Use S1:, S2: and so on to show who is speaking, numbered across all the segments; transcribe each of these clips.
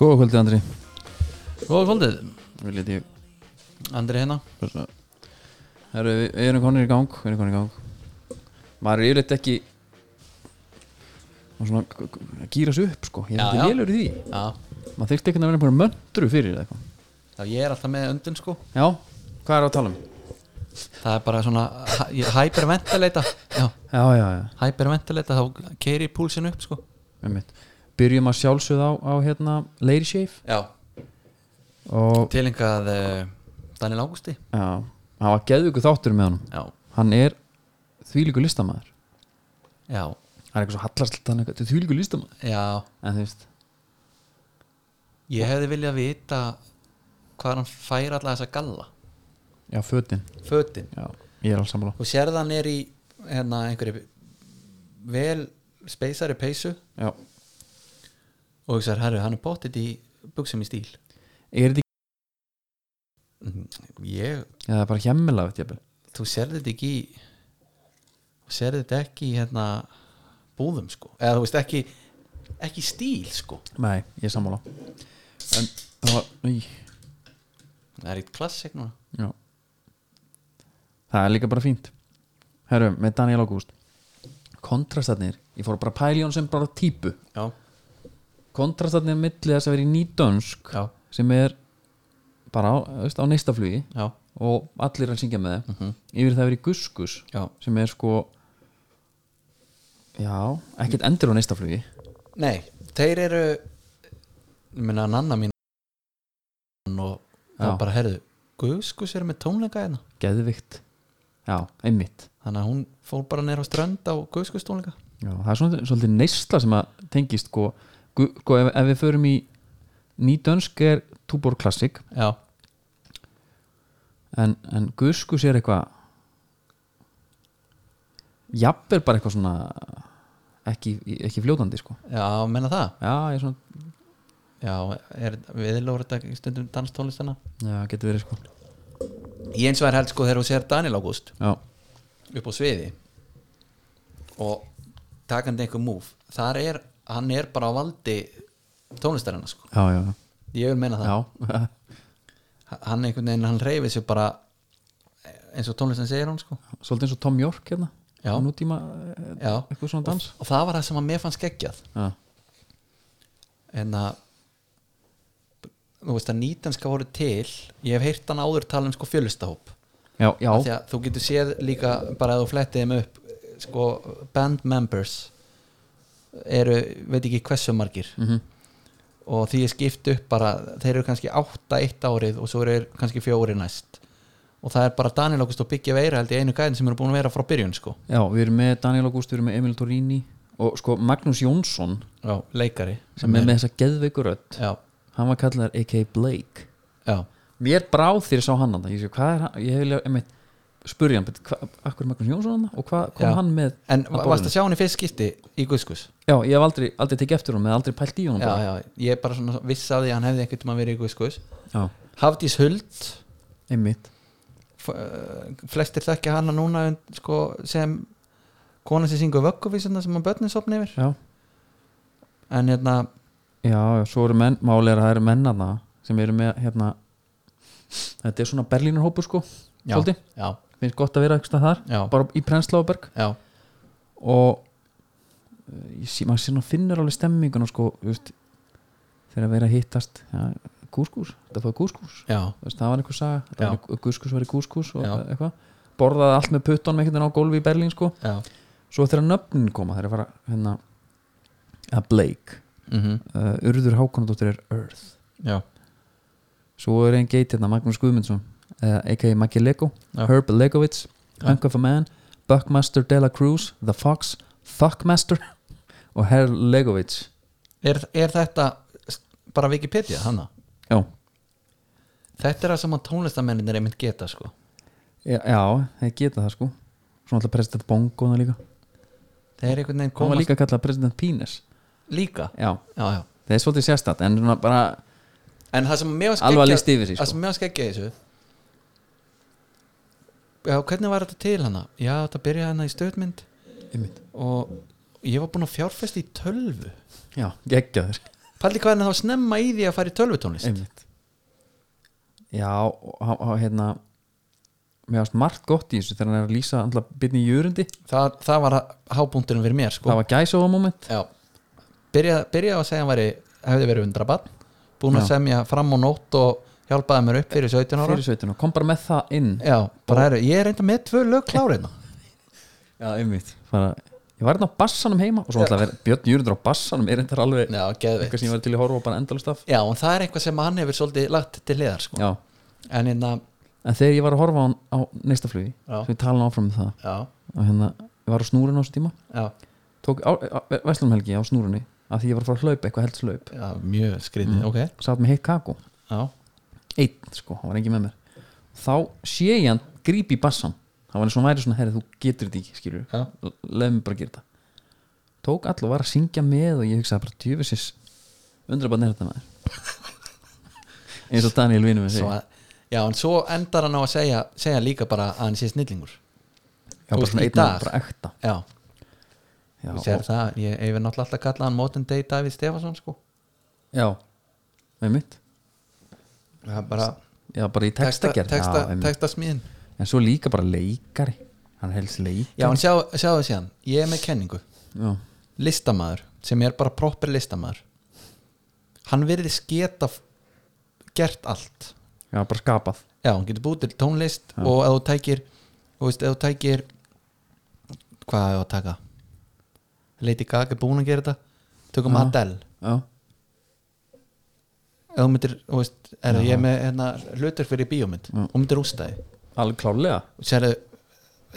S1: Góða kvöldi Andri
S2: Góða kvöldið,
S1: Við leti ég
S2: Andri hérna
S1: bara svona Herru, við við erum konir í gang Við erum konir í gang Maður er yfirleitt ekki Og svona g- g- að gýra sig upp sko Ég
S2: Já,
S1: er
S2: já.
S1: þetta lélur í því
S2: Já,
S1: Maður þyrfti ekki að vera bara möndru fyrir eða eitthvað
S2: já ég er alltaf með öndun sko
S1: Já, hvað er að tala um?
S2: Það er bara svona, hæ- ég- hyperventilata Já,
S1: Já, já, já
S2: hyperventilata, þá keiri púlsinn upp sko
S1: Einmitt. Byrjum að sjálfsögð á, á hérna Lady Shave
S2: Já,
S1: Og
S2: tilengað uh, Daniel Águsti
S1: já, hann var geðvöku þáttur með honum
S2: Já,
S1: Hann er þvílíku listamæður
S2: já,
S1: Það er eitthvað svo hallarslegt hann eitthvað Þvílíku listamæður
S2: já
S1: En þú veist
S2: Ég hefði viljað vita hvað hann fær alla þessa galla
S1: Já, fötin
S2: Fötin
S1: Já, ég er alls sammála
S2: Og sérðan er í hérna einhverju vel speysari peysu
S1: Já
S2: og hugsaður, herru, hann er bóttið í buksum í stíl
S1: Er þetta ekki
S2: Mm, Ég
S1: Já, það er bara hjemmila veit ég
S2: þú sérði þetta ekki í- þú sérði þetta ekki í hérna búðum sko eða þú veist ekki ekki í stíl sko
S1: Nei, ég er sammála En það var Í
S2: það er eitt klassik núna
S1: Já Það er líka bara fínt Herru, með Daniel August Kontrastarnir Ég fór bara að pæla í hún sem bara típu
S2: já,
S1: Kontrastarnir er milli þess að vera í nýdönsk
S2: já,
S1: Sem er bara á, þú veist, á neista flugi
S2: já, Mhm.
S1: Og allir er að syngja með þeim Yfir það að vera í guskus
S2: já.
S1: Sem er sko Já, ekkert endur á neista flugi
S2: nei, þeir eru ég meina nanna mín og það
S1: Já.
S2: bara herðu Guðskus er með tónleika hérna
S1: geðvikt já, einmitt
S2: þannig að hún fór bara neyra á strönd á Guðskus tónleika
S1: já, það er svolítið, svolítið neysla sem að tengist sko, gu- sko ef, ef við förum í nýdönsk er Tuborg Classic
S2: já,
S1: en, en Guskus er eitthvað jafnvel bara eitthvað svona ekki, ekki fljótandi sko
S2: já, menna það
S1: já, ég svona,
S2: já, er, við lóður þetta stundum danstónlistana
S1: já, getur verið sko
S2: ég eins og er held sko þegar þú sér Daniel August
S1: já,
S2: upp á sviði og takandi einhver múf þar er, hann er bara á valdi tónlistarina sko
S1: já, já, já.
S2: ég vil meina það,
S1: já,
S2: hann einhvern veginn hann reyfið sér bara eins og tónlistin segir hann sko
S1: svolítið eins og Tom York hérna,
S2: Já.
S1: nútíma eh,
S2: já,
S1: eitthvað svona dans
S2: og það var það sem að mér fannst geggjað
S1: já,
S2: en að þú veist að nýtanska voru til ég hef heyrt hann áður tala um sko fjölustahóp
S1: já, já,
S2: því að þú getur séð líka bara að þú flettið þeim upp sko band members eru, veit ekki hversu margir
S1: Mhm.
S2: og því er skipt upp bara þeir eru kannski 8 eitt árið og svo eru þeir kannski 4 næst og það er bara Daniel August og Byggja Veira held ég einu gæðin sem eru búin að vera frá byrjun sko
S1: Já, við erum með Daniel August, við erum með Emil Torini og sko Magnús Jónsson
S2: já, leikari
S1: sem er með þessa geðveikurödd
S2: já,
S1: hann var kallar A.K. Blake
S2: já,
S1: Mér brá þér sá hann hann ég, sé, hvað er hann, ég hef vilja, einmitt, spurja hann betur, hva, akkur er Magnús Jónsson hann og hvað kom
S2: Já.
S1: hann með
S2: en
S1: að
S2: varst
S1: borðinu?
S2: að sjá hann í fyrst skipti í Guðskus
S1: Já, ég hef aldrei, aldrei tekið eftir honum eða aldrei pælt í honum
S2: já,
S1: bara.
S2: já, ég bara svona vissi að því að hann hefði ekkert um að vera í Guðskus
S1: já,
S2: Hafdís Huld
S1: einmitt
S2: f- eh, flestir þekkja hana núna en, sko, sem kona sem syngur vögguvísuna sem að börnin sopna yfir
S1: Já,
S2: en hérna,
S1: já, já, svo eru menn, máli er að það eru mennarna sem eru með hérna þetta er svona Berlínarhópur sko
S2: já,
S1: Svolítið.
S2: já,
S1: finnst gott að vera ekki þar,
S2: já,
S1: bara í Prensláberg
S2: já,
S1: og eh, ég sé, maður sé nú finnur alveg stemmingun og sko, þú veist þegar að vera að hittast ja, kúskús, þetta fóði kúskús
S2: já,
S1: Þú veist, það var einhver saga, þetta
S2: Já.
S1: var einhver- kúskús var í kúskús og
S2: Já.
S1: eitthvað, borðaði allt með puttunum einhvern veginn á gólfi í Berlín sko
S2: já.
S1: svo þegar nöfnin koma, þegar að fara hérna að Blake
S2: Mm
S1: uh, Urður Hákonadóttir er Earth
S2: já,
S1: svo er einn geit hérna, Magnús Guðmundsson uh, a.k.a. Maggi Lego,
S2: Já.
S1: Herb Legowitz
S2: Já.
S1: Hunk of a Man, Buckmaster Dela Cruz The Fox, Fuckmaster og Herr Legowitz
S2: Er, er þetta s- bara Wikipedia hana?
S1: Já,
S2: Þetta er það sem að tónlistamennin er einmitt geta sko.
S1: já, já þeir geta það sko Svo alltaf President Bongo þarna líka
S2: þeir er einhvern
S1: Hún
S2: veginn
S1: var
S2: komast líka.
S1: líka kallað President Penis Já,
S2: já, já.
S1: það er svolítið sérstætt En svona bara
S2: en það sem mér var
S1: alveg að listi
S2: skeggja-
S1: yfir sig
S2: það
S1: sko
S2: sem mér var skeggja í þessu já, hvernig var þetta til hana? já, þetta byrjaði hana í stöðmynd
S1: Einmitt.
S2: og ég var búinn að fjárfesta í tölvu
S1: Já, geggja þér
S2: Palli hvað er það að snemma í því að fara í tölvutónlist
S1: einmitt já, og, hann- hann- hérna mér varst margt gott í þessu þegar hann er að lýsa alltaf byrni í jörundi
S2: það, það var hábúndurinn fyrir mér sko.
S1: það var gæsa á moment
S2: Já Byrja, byrja á að segja hann væri, hefði verið undrabann búin að
S1: Já.
S2: semja fram og nótt og hjálpaði mér upp fyrir 17 ára
S1: fyrir sveitinu, kom bara með það inn
S2: Já, bara heru, ég er reynda með tvö lög hérna. klárina
S1: já, einmitt Fara, ég var hérna á bassanum heima og svo alltaf verið Björn Júrundur á bassanum er þetta alveg
S2: Já,
S1: eitthvað
S2: geðveikt
S1: sem ég var til að horfa á bara endalust af
S2: Já, en það er eitthvað sem hann hefur svolítið lagt til hliðar sko.
S1: já,
S2: En hérna,
S1: en þegar ég var að horfa á, hann á neista flugi
S2: Já.
S1: sem við tala áfram um það
S2: já,
S1: og hérna, ég var á snúrun á þessu tíma
S2: já,
S1: tók á- á- Veslum Helgi á snúrunni af því ég var að fara að hlaupa eitthvað helst hlaup
S2: já mjög skrýtið Mm, Ok,
S1: satt með heitt kakó
S2: já,
S1: einn sko, hann var engin með mér þá sé ég hann grípi í bassan það var eins og hann væri svona, herri þú getur þetta ekki skilur,
S2: já,
S1: leið mér bara að gera þetta tók all og var að syngja með og ég hugsaði bara djöfisins undrabann er þetta maður eins og Daniel vinur minn
S2: svo
S1: segir
S2: að Já, en svo endar hann á að segja, segja líka bara að hann sé snillingur
S1: já, bara
S2: veist,
S1: svona
S2: í
S1: einn
S2: dag.
S1: og bara ekta
S2: Já,
S1: já,
S2: þú sér
S1: og,
S2: það, ég ég hefur náttúrulega alltaf að kalla hann Modern Day David Stefansson sko
S1: já, með mitt
S2: Það er bara
S1: já, bara í textagerð
S2: texta,
S1: já, einmitt.
S2: texta smíðin
S1: en svo líka bara leikari hann helst leikari
S2: Já, en sjá, sjáðu síðan, ég er með kenningu
S1: já,
S2: listamaður, sem er bara proper listamaður hann virðist geta f- gert allt
S1: já, bara skapað
S2: já, hann getur búið til tónlist og ef þú tækir þú veist, ef þú tækir hvað er að taka Lady Gaga er búin að gera þetta tökum
S1: Já.
S2: Adele
S1: já,
S2: ef þú myndir, þú veist, er ég er með hérna, hlutur fyrir bíómynd,
S1: Já.
S2: þú myndir ústæði
S1: alveg klálega
S2: og sérðu,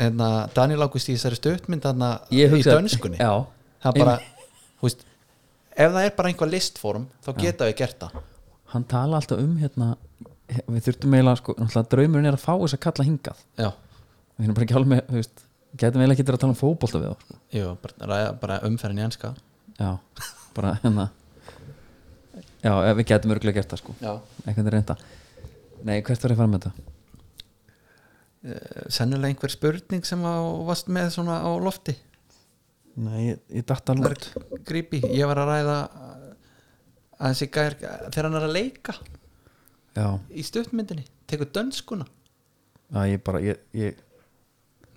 S2: hérna, Daniel August í þessari stöttmynd þarna í
S1: Ég hugsaði-
S2: dönskunni
S1: já,
S2: það er bara, þú veist ef það er bara einhver listform þá geta við gert það
S1: hann tala alltaf um hérna við þurftum eiginlega sko, náttúrulega draumurinn er að fá þess að kalla hingað
S2: já,
S1: við erum bara ekki alveg með, þú veist gætum eiginlega ekki verið að tala um fótbolta við þá sko.
S2: Jú, bara, ræða- bara umferðin í enska
S1: já, bara hérna já, ef við gætum örgulega gert það sko
S2: já.
S1: eitthvað er reynda nei, hvert var ég að fara með þetta?
S2: Eh, sennilega einhver spurning sem að- varst með svona á lofti
S1: nei, ég, ég datt alveg út
S2: grípi, ég var að ræða að þessi gær þegar hann er að leika
S1: já,
S2: í stöttmyndinni, tekur dönskuna
S1: já, ég bara ég, ég,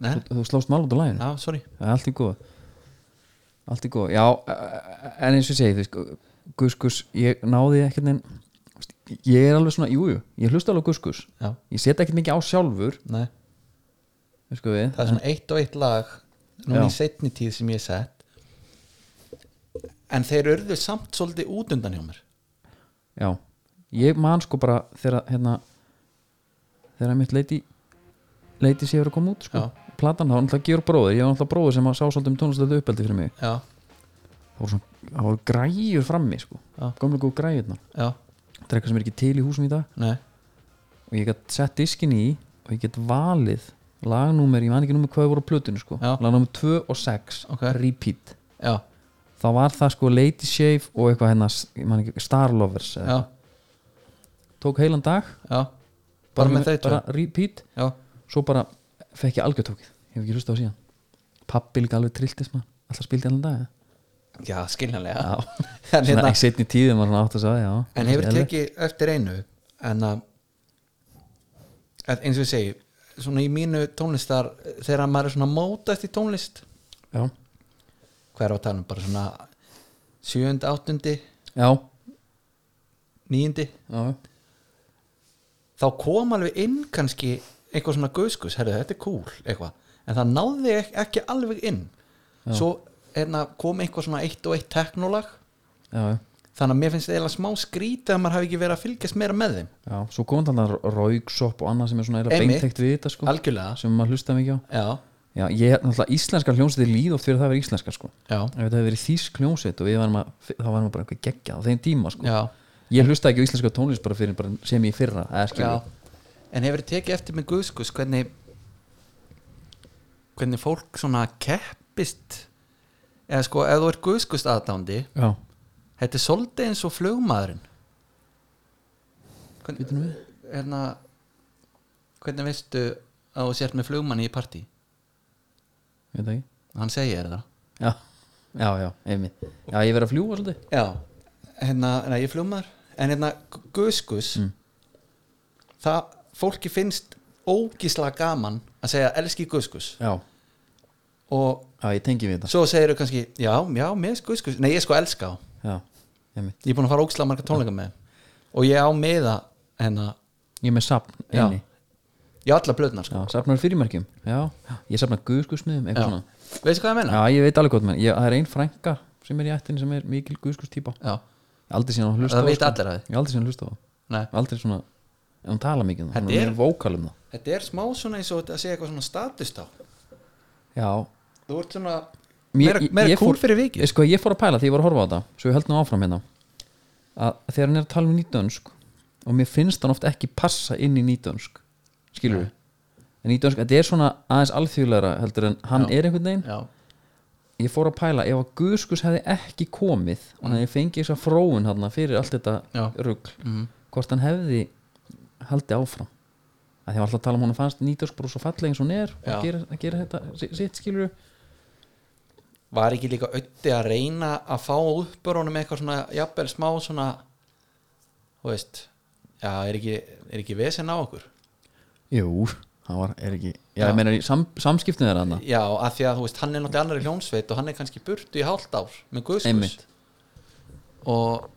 S2: Nei,
S1: þú, þú slóst mál út á læginu
S2: já, sorry
S1: það er allt í góð allt í góð, já eh, en eins og ég segi, þú veist, guskus ég náði ekkert neinn ég er alveg svona, jújú, jú, ég hlusta alveg á guskus
S2: já,
S1: ég set ekkert mikið á sjálfur
S2: nei
S1: við sko við,
S2: það er svona eitt og eitt lag
S1: Já.
S2: núna í setni tíð sem ég hef sett en þeir urðu samt svolítið út undan hjá mér
S1: já ég man sko bara þegar hérna þegar mitt leiti leiti sé verið að koma út sko
S2: Já.
S1: platan þá, náttúrulega Georg bróðir, ég var náttúrulega bróðir sem að sá svolítið um tónlistöðu uppeldi fyrir mig
S2: já,
S1: það voru, svona, það voru græjur frammi sko
S2: Já.
S1: komlega góð græjurnar,
S2: já,
S1: það er eitthvað sem er ekki til í húsum í dag
S2: nei
S1: og ég gætt sett diskin í og ég get valið lagnúmer, ég man ekki númer hvað voru á plötunni sko
S2: Já.
S1: lagnúmer 2 og 6,
S2: Ok.
S1: repeat
S2: já,
S1: þá var það sko Lady Shave og eitthvað hérna, ég man ekki, Star Lovers eða
S2: já,
S1: tók heilan dag
S2: já bara með þau tvö
S1: bara repeat,
S2: já,
S1: svo bara fekk ég algjörtókið, ég hef ekki hlusta á síðan pappi líka alveg trilltist maður alltaf spildi allan dag
S2: já skiljanlega
S1: já,
S2: en,
S1: svona
S2: hérna,
S1: ekki setni tíðum var svona átt að sagði, já
S2: en hefur
S1: Eðlilegt.
S2: tekið eftir einu en að að eins og ég segi svona í mínu tónlistar þegar maður er svona mótast í tónlist
S1: já,
S2: hver á talum, bara svona sjöundi, áttundi,
S1: já,
S2: níundi
S1: já,
S2: þá kom alveg inn kannski eitthvað svona guðskus, herrðu þetta er cool eitthvað, en það náði ek- ekki alveg inn svo hérna, kom eitthvað svona eitt og eitt teknólag
S1: já, já,
S2: þannig að mér finnst eiginlega smá skrítið að maður hafi ekki verið að fylgjast meira með þeim
S1: já. svo kom þannig að rauksopp og annað sem er svona eiginlega
S2: Einmitt.
S1: beintekt við þetta sko
S2: algjörlega,
S1: sem maður hlusta mikið á
S2: já,
S1: já, ég, náttúrulega íslenskar hljómsveitir líð oft fyrir það að vera íslenskar sko
S2: já,
S1: ef þetta hefur verið þýsk hljómsveit og við varum að þá varum við bara eitthvað geggjað á þeim tíma sko
S2: já,
S1: ég hlusta ekki á íslenska tónlist bara fyrir bara sem ég fyrra eða
S2: já.
S1: skilur,
S2: en hefur tekið eftir með guðskus hvernig hvernig fólk svona keppist eða sko, ef þú ert guðskust aðdándi
S1: já.
S2: þetta er svolítið eins og flugmaðurinn hvernig,
S1: Bíddu nú við.
S2: hérna, hvernig veistu að þú sért með flugmanni í partí
S1: Ég veit það ekki
S2: hann segir þér það
S1: já, já, já, einmitt já, ég verið að fljúa svolítið
S2: já, hérna, hérna ég fljómaður en hérna guðskus
S1: Mm.
S2: það fólki finnst ógísla gaman að segja elski guðskus
S1: já,
S2: og
S1: já, ég tengi við þetta
S2: svo segir þau kannski já, já, mér sko, guðskus nei, ég sko elska á
S1: já, einmitt.
S2: ég er búin að fara ógísla marga tónleika með þeim. og ég á meða hérna
S1: ég er með sapn
S2: já,
S1: inni
S2: ég á alla blöðnar sko
S1: já, sapnar fyrirmerkjum já, ég sapnar guðskusnum
S2: já.
S1: eitthvað svona
S2: veistu hvað ég menna?
S1: já, ég veit alveg gott menn, ég, það er ein frænka sem er í ættin sem er mikil guðskus típa
S2: Já.
S1: aldrei síðan hún hlusta
S2: Það
S1: á, sko.
S2: vita allir að því.
S1: Ég hef aldrei síðan hlusta á það.
S2: Nei.
S1: aldrei svona, en hún tala mikið um það,
S2: Þetta
S1: hún er
S2: er-
S1: mjög vókal um það
S2: þetta er smá svona eins og þetta að segja eitthvað svona status þá
S1: já,
S2: þú ert svona
S1: Mér-
S2: meira,
S1: ég-
S2: meira
S1: ég
S2: kúl
S1: fór-
S2: fyrir vikið
S1: ég, sko, ég fór að pæla því ég var að horfa á þetta svo ég held nú áfram hérna að þegar hann er að tala um nýtönsk og mér finnst hann oft ekki passa inn í nýtönsk skilur við en nýtönsk, þetta er svona aðeins alþjóðlegra heldur en hann er einhvern veginn
S2: já,
S1: ég fór að pæla ef að Guðskus hefði ekki komið og hann hefði fengið þess að fróun hann fyrir allt þetta
S2: Já. mhm.
S1: rugl hvort hann hefði haldið áfram að því var alltaf að tala um hún að fannst nýtönsk bara svo falleg eins og hún er og
S2: Já.
S1: að gera, að gera þetta si- sitt skilur
S2: var ekki líka ötti að reyna að fá uppur honum eitthvað svona jafnvel smá svona þú veist já, er ekki, er ekki vesen á okkur
S1: jú, hann var, er ekki já,
S2: Já.
S1: ég meina í sam, samskiptinu þeirra hann
S2: já, af því að þú veist, hann er náttúrulega annar í hljónsveit og hann er kannski burtu í hálft ár með guðskus
S1: einmitt
S2: og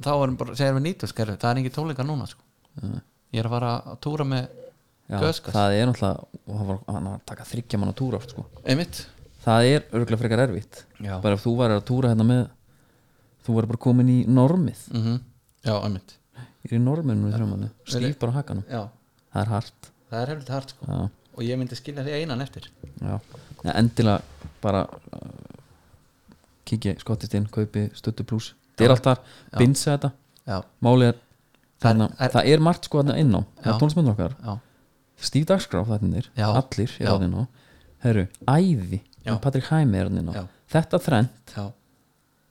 S2: þá er hann bara, segir við nýtulskerfi það er ekki tónleika núna sko ég er að fara að túra með
S1: já,
S2: guðskus
S1: það er náttúrulega, og hann var, hann var að taka þryggja manna túra oft sko
S2: einmitt
S1: það er örgulega frekar erfitt
S2: Já.
S1: bara ef þú væri að túra hérna með þú væri bara komin í normið
S2: mm já, einmitt
S1: ég er í norminu í þrjómanu, stíf bara á hakanum
S2: já,
S1: það er hart
S2: það er hefðið hart sko
S1: já,
S2: og ég myndi skilja því einan eftir
S1: já. Nei, endilega bara uh, kikið skottist inn, kaupi stöttu pluss það er allt þar, binsa þetta
S2: já,
S1: málið er,
S2: Það er-
S1: þarna,
S2: er-
S1: það er margt sko þarna inn á
S2: Já.
S1: tónlismöndur okkar,
S2: já,
S1: stíf dagskrá þarna
S2: Já.
S1: allir
S2: Já.
S1: er þarna inn á herru, æði,
S2: Já.
S1: Patrik Hæmi er þarna inn á
S2: Já.
S1: þetta þrenn
S2: já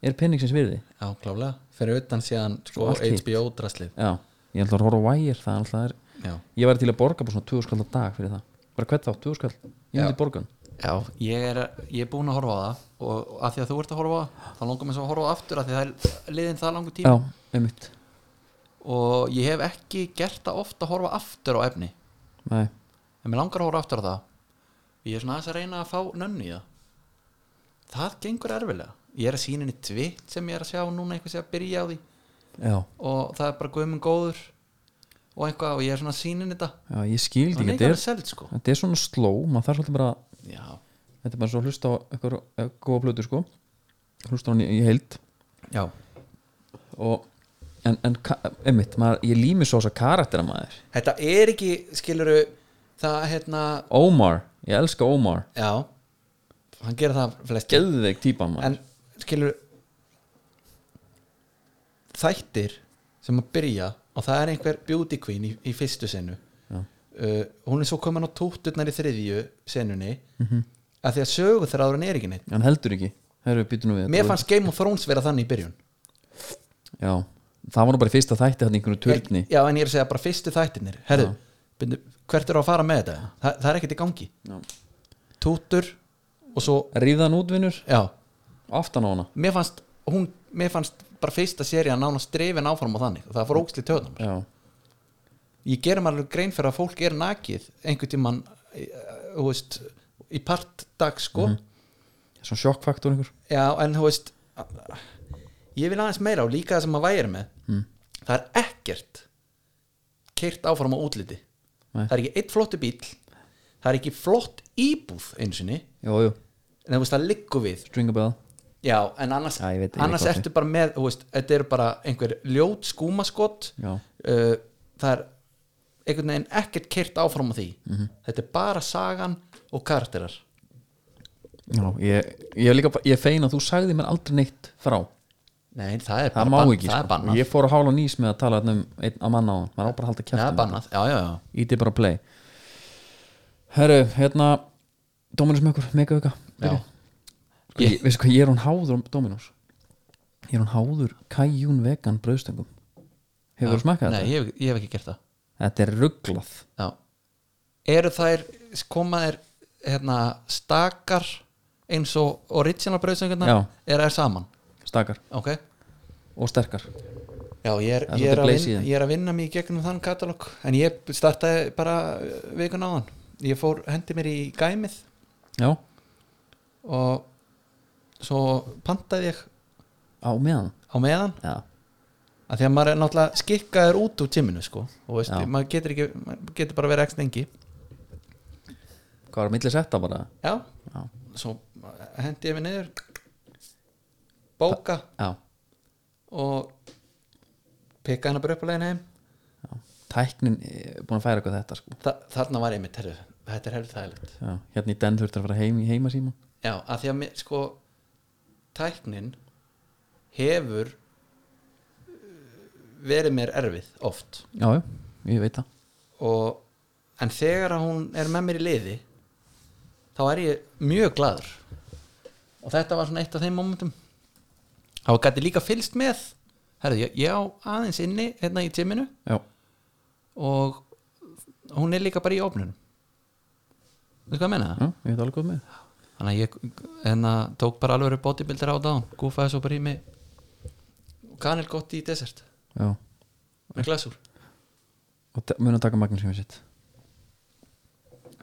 S1: er penningsins virði
S2: Já, klálega, fyrir utan síðan sko,
S1: allt hitt.
S2: HBO draslið
S1: já, ég ætla að horfa á vægir það er alltaf er,
S2: já.
S1: ég væri til að borga bara svona 20 skall á dag fyrir það, bara hvert þá, 20 skall ég myndi borgan,
S2: já, ég er, ég er búin að horfa á það og að því að þú ert að horfa á það þá langar mér svo að horfa á það aftur að því að það er liðin það langur
S1: já,
S2: tíma
S1: einmitt
S2: og ég hef ekki gert það oft að horfa aftur á efni
S1: Nei.
S2: en mér langar að horfa aftur á það ég er svona aðeins að reyna að fá nönni í það það gengur erfilega ég er að sína henni tvitt sem ég er að sjá núna eitthvað sem að byrja á því
S1: Já,
S2: og það er bara guðmund góður og eitthvað og ég er svona að sína henni þetta
S1: já, ég skildi
S2: það
S1: ekki þetta
S2: er eitthvað
S1: er,
S2: að selja sko
S1: þetta er svona sló, maður þarf svolítið bara
S2: já,
S1: þetta er bara svo að hlusta á eitthvað eh, góða plötu sko hlusta á hann í, í heild
S2: já,
S1: og, en, en ka- einmitt, maður, ég lími svo þess að karaktera maður
S2: Þetta er ekki, skiluru það hérna,
S1: Omar, ég elska Omar
S2: já hann gerir það flest
S1: geðveik típa maður
S2: en skiluru þættir sem að byrja og það er einhver beauty queen í, í fyrstu senu
S1: Já.
S2: uh, hún er svo komin á tótturnar í þriðju senunni
S1: Mhm.
S2: að því að sögu þegar ára er ekki neitt
S1: hann heldur ekki, herru, býtu nú við
S2: mér
S1: þú-
S2: fannst Game of Thrones vera þannig í byrjun
S1: Já, það var nú bara í fyrsta þætti hann einhvern turni
S2: já en ég er að segja bara fyrstu þættirnir herru, byrju, hvert er að fara með þetta Þa, það er ekkert í gangi
S1: Já.
S2: tóttur og svo
S1: ríðan útvinnur,
S2: já,
S1: aftan á hana
S2: mér fannst hún, mér fannst bara fyrsta serían nánast drefin áfram á þannig og það fór ógstli töðan
S1: Já,
S2: ég gerum alveg grein fyrir að fólk er nakið einhvern tímann eh, þú veist, í partdag sko
S1: svona sjokkfaktor einhver
S2: já, en þú veist ég vil aðeins meira og líka það sem maður væri með mm. það er ekkert keirt áfram á útliti
S1: Nei.
S2: það er ekki eitt flottu bíl það er ekki flott íbúð einu sinni
S1: Jú, jú,
S2: en þú veist, það liggur við
S1: stringabæða
S2: Já, en annars,
S1: Já, ég veit- ég veit
S2: annars
S1: hvað
S2: ertu bara með, þú veist, þetta eru bara einhver ljót skúmaskott
S1: Já.
S2: það er einhvern veginn ekkert kert áfram á því
S1: Mhm.
S2: þetta er bara sagan og karakterar
S1: Já, ég, ég, er líka, bara- ég er fein að þú sagði mér aldrei neitt frá
S2: Nei, það er
S1: það
S2: bara
S1: má
S2: bann-
S1: ekki
S2: það er
S1: sko.
S2: bannað,
S1: ég fór að hála nýs með að tala þarna um einn að manna á hann, maður á bara að halda
S2: það er
S1: kjæftum
S2: bannað Já, já, já,
S1: íti bara play herru, hérna Dominus með okkur, mega auka
S2: já.
S1: Sko, ég, veistu hvað, ég er hún háður um Dominus ég er hún háður kajún vegan brauðstöngum hefur þú smakkað
S2: Nei,
S1: þetta?
S2: ég, hef- ég hef ekki gert það
S1: þetta er rugglað
S2: Já Eru þær, koma þær hérna, stakar eins og original brauðsöngarnar
S1: Já.
S2: er þær saman,
S1: stakar,
S2: ok
S1: og sterkar
S2: Já, ég er,
S1: Það er
S2: ég,
S1: svolítið
S2: er að
S1: blaze í
S2: vinna,
S1: þeim.
S2: ég er að vinna mig í gegnum þann katalóg en ég startaði bara uh, vikun á hann ég fór, hendi mér í gæmið
S1: já,
S2: og svo pantaði ég
S1: á meðan
S2: á meðan
S1: já,
S2: að því að maður er náttúrulega skikkaður út úr tíminu sko og veist,
S1: Já.
S2: maður getur, ekki, maður getur bara verið ekki stengi
S1: hvað var að milli setta bara
S2: já,
S1: já,
S2: svo hendi ég mig niður bóka
S1: já,
S2: og pikka hana bara upp á leiðin heim
S1: já. tæknin er búin að færa eitthvað þetta sko
S2: Þa, þarna var einmitt, herru, þetta er helvið þægilegt
S1: já, hérna í den þurftur að fara heim í heima síma
S2: já, að því að mér, sko tæknin hefur uh, verið mér erfið oft
S1: já, já, ég veit það
S2: og, en þegar að hún er með mér í liði þá er ég mjög gladur og þetta var svona eitt af þeim momentum þá gæti líka fylst með herru, ég, ég á aðeins inni hérna í tíminu
S1: já,
S2: og hún er líka bara í opnunum veistu hvað ég menna
S1: já
S2: það?
S1: ég veit alveg góð með
S2: þannig að ég enna, tók bara alveg bodybuilder á dán gúfaði svo bara í mig og kanil gott í desert
S1: já,
S2: með glasur
S1: og te- mun að taka magnum sitt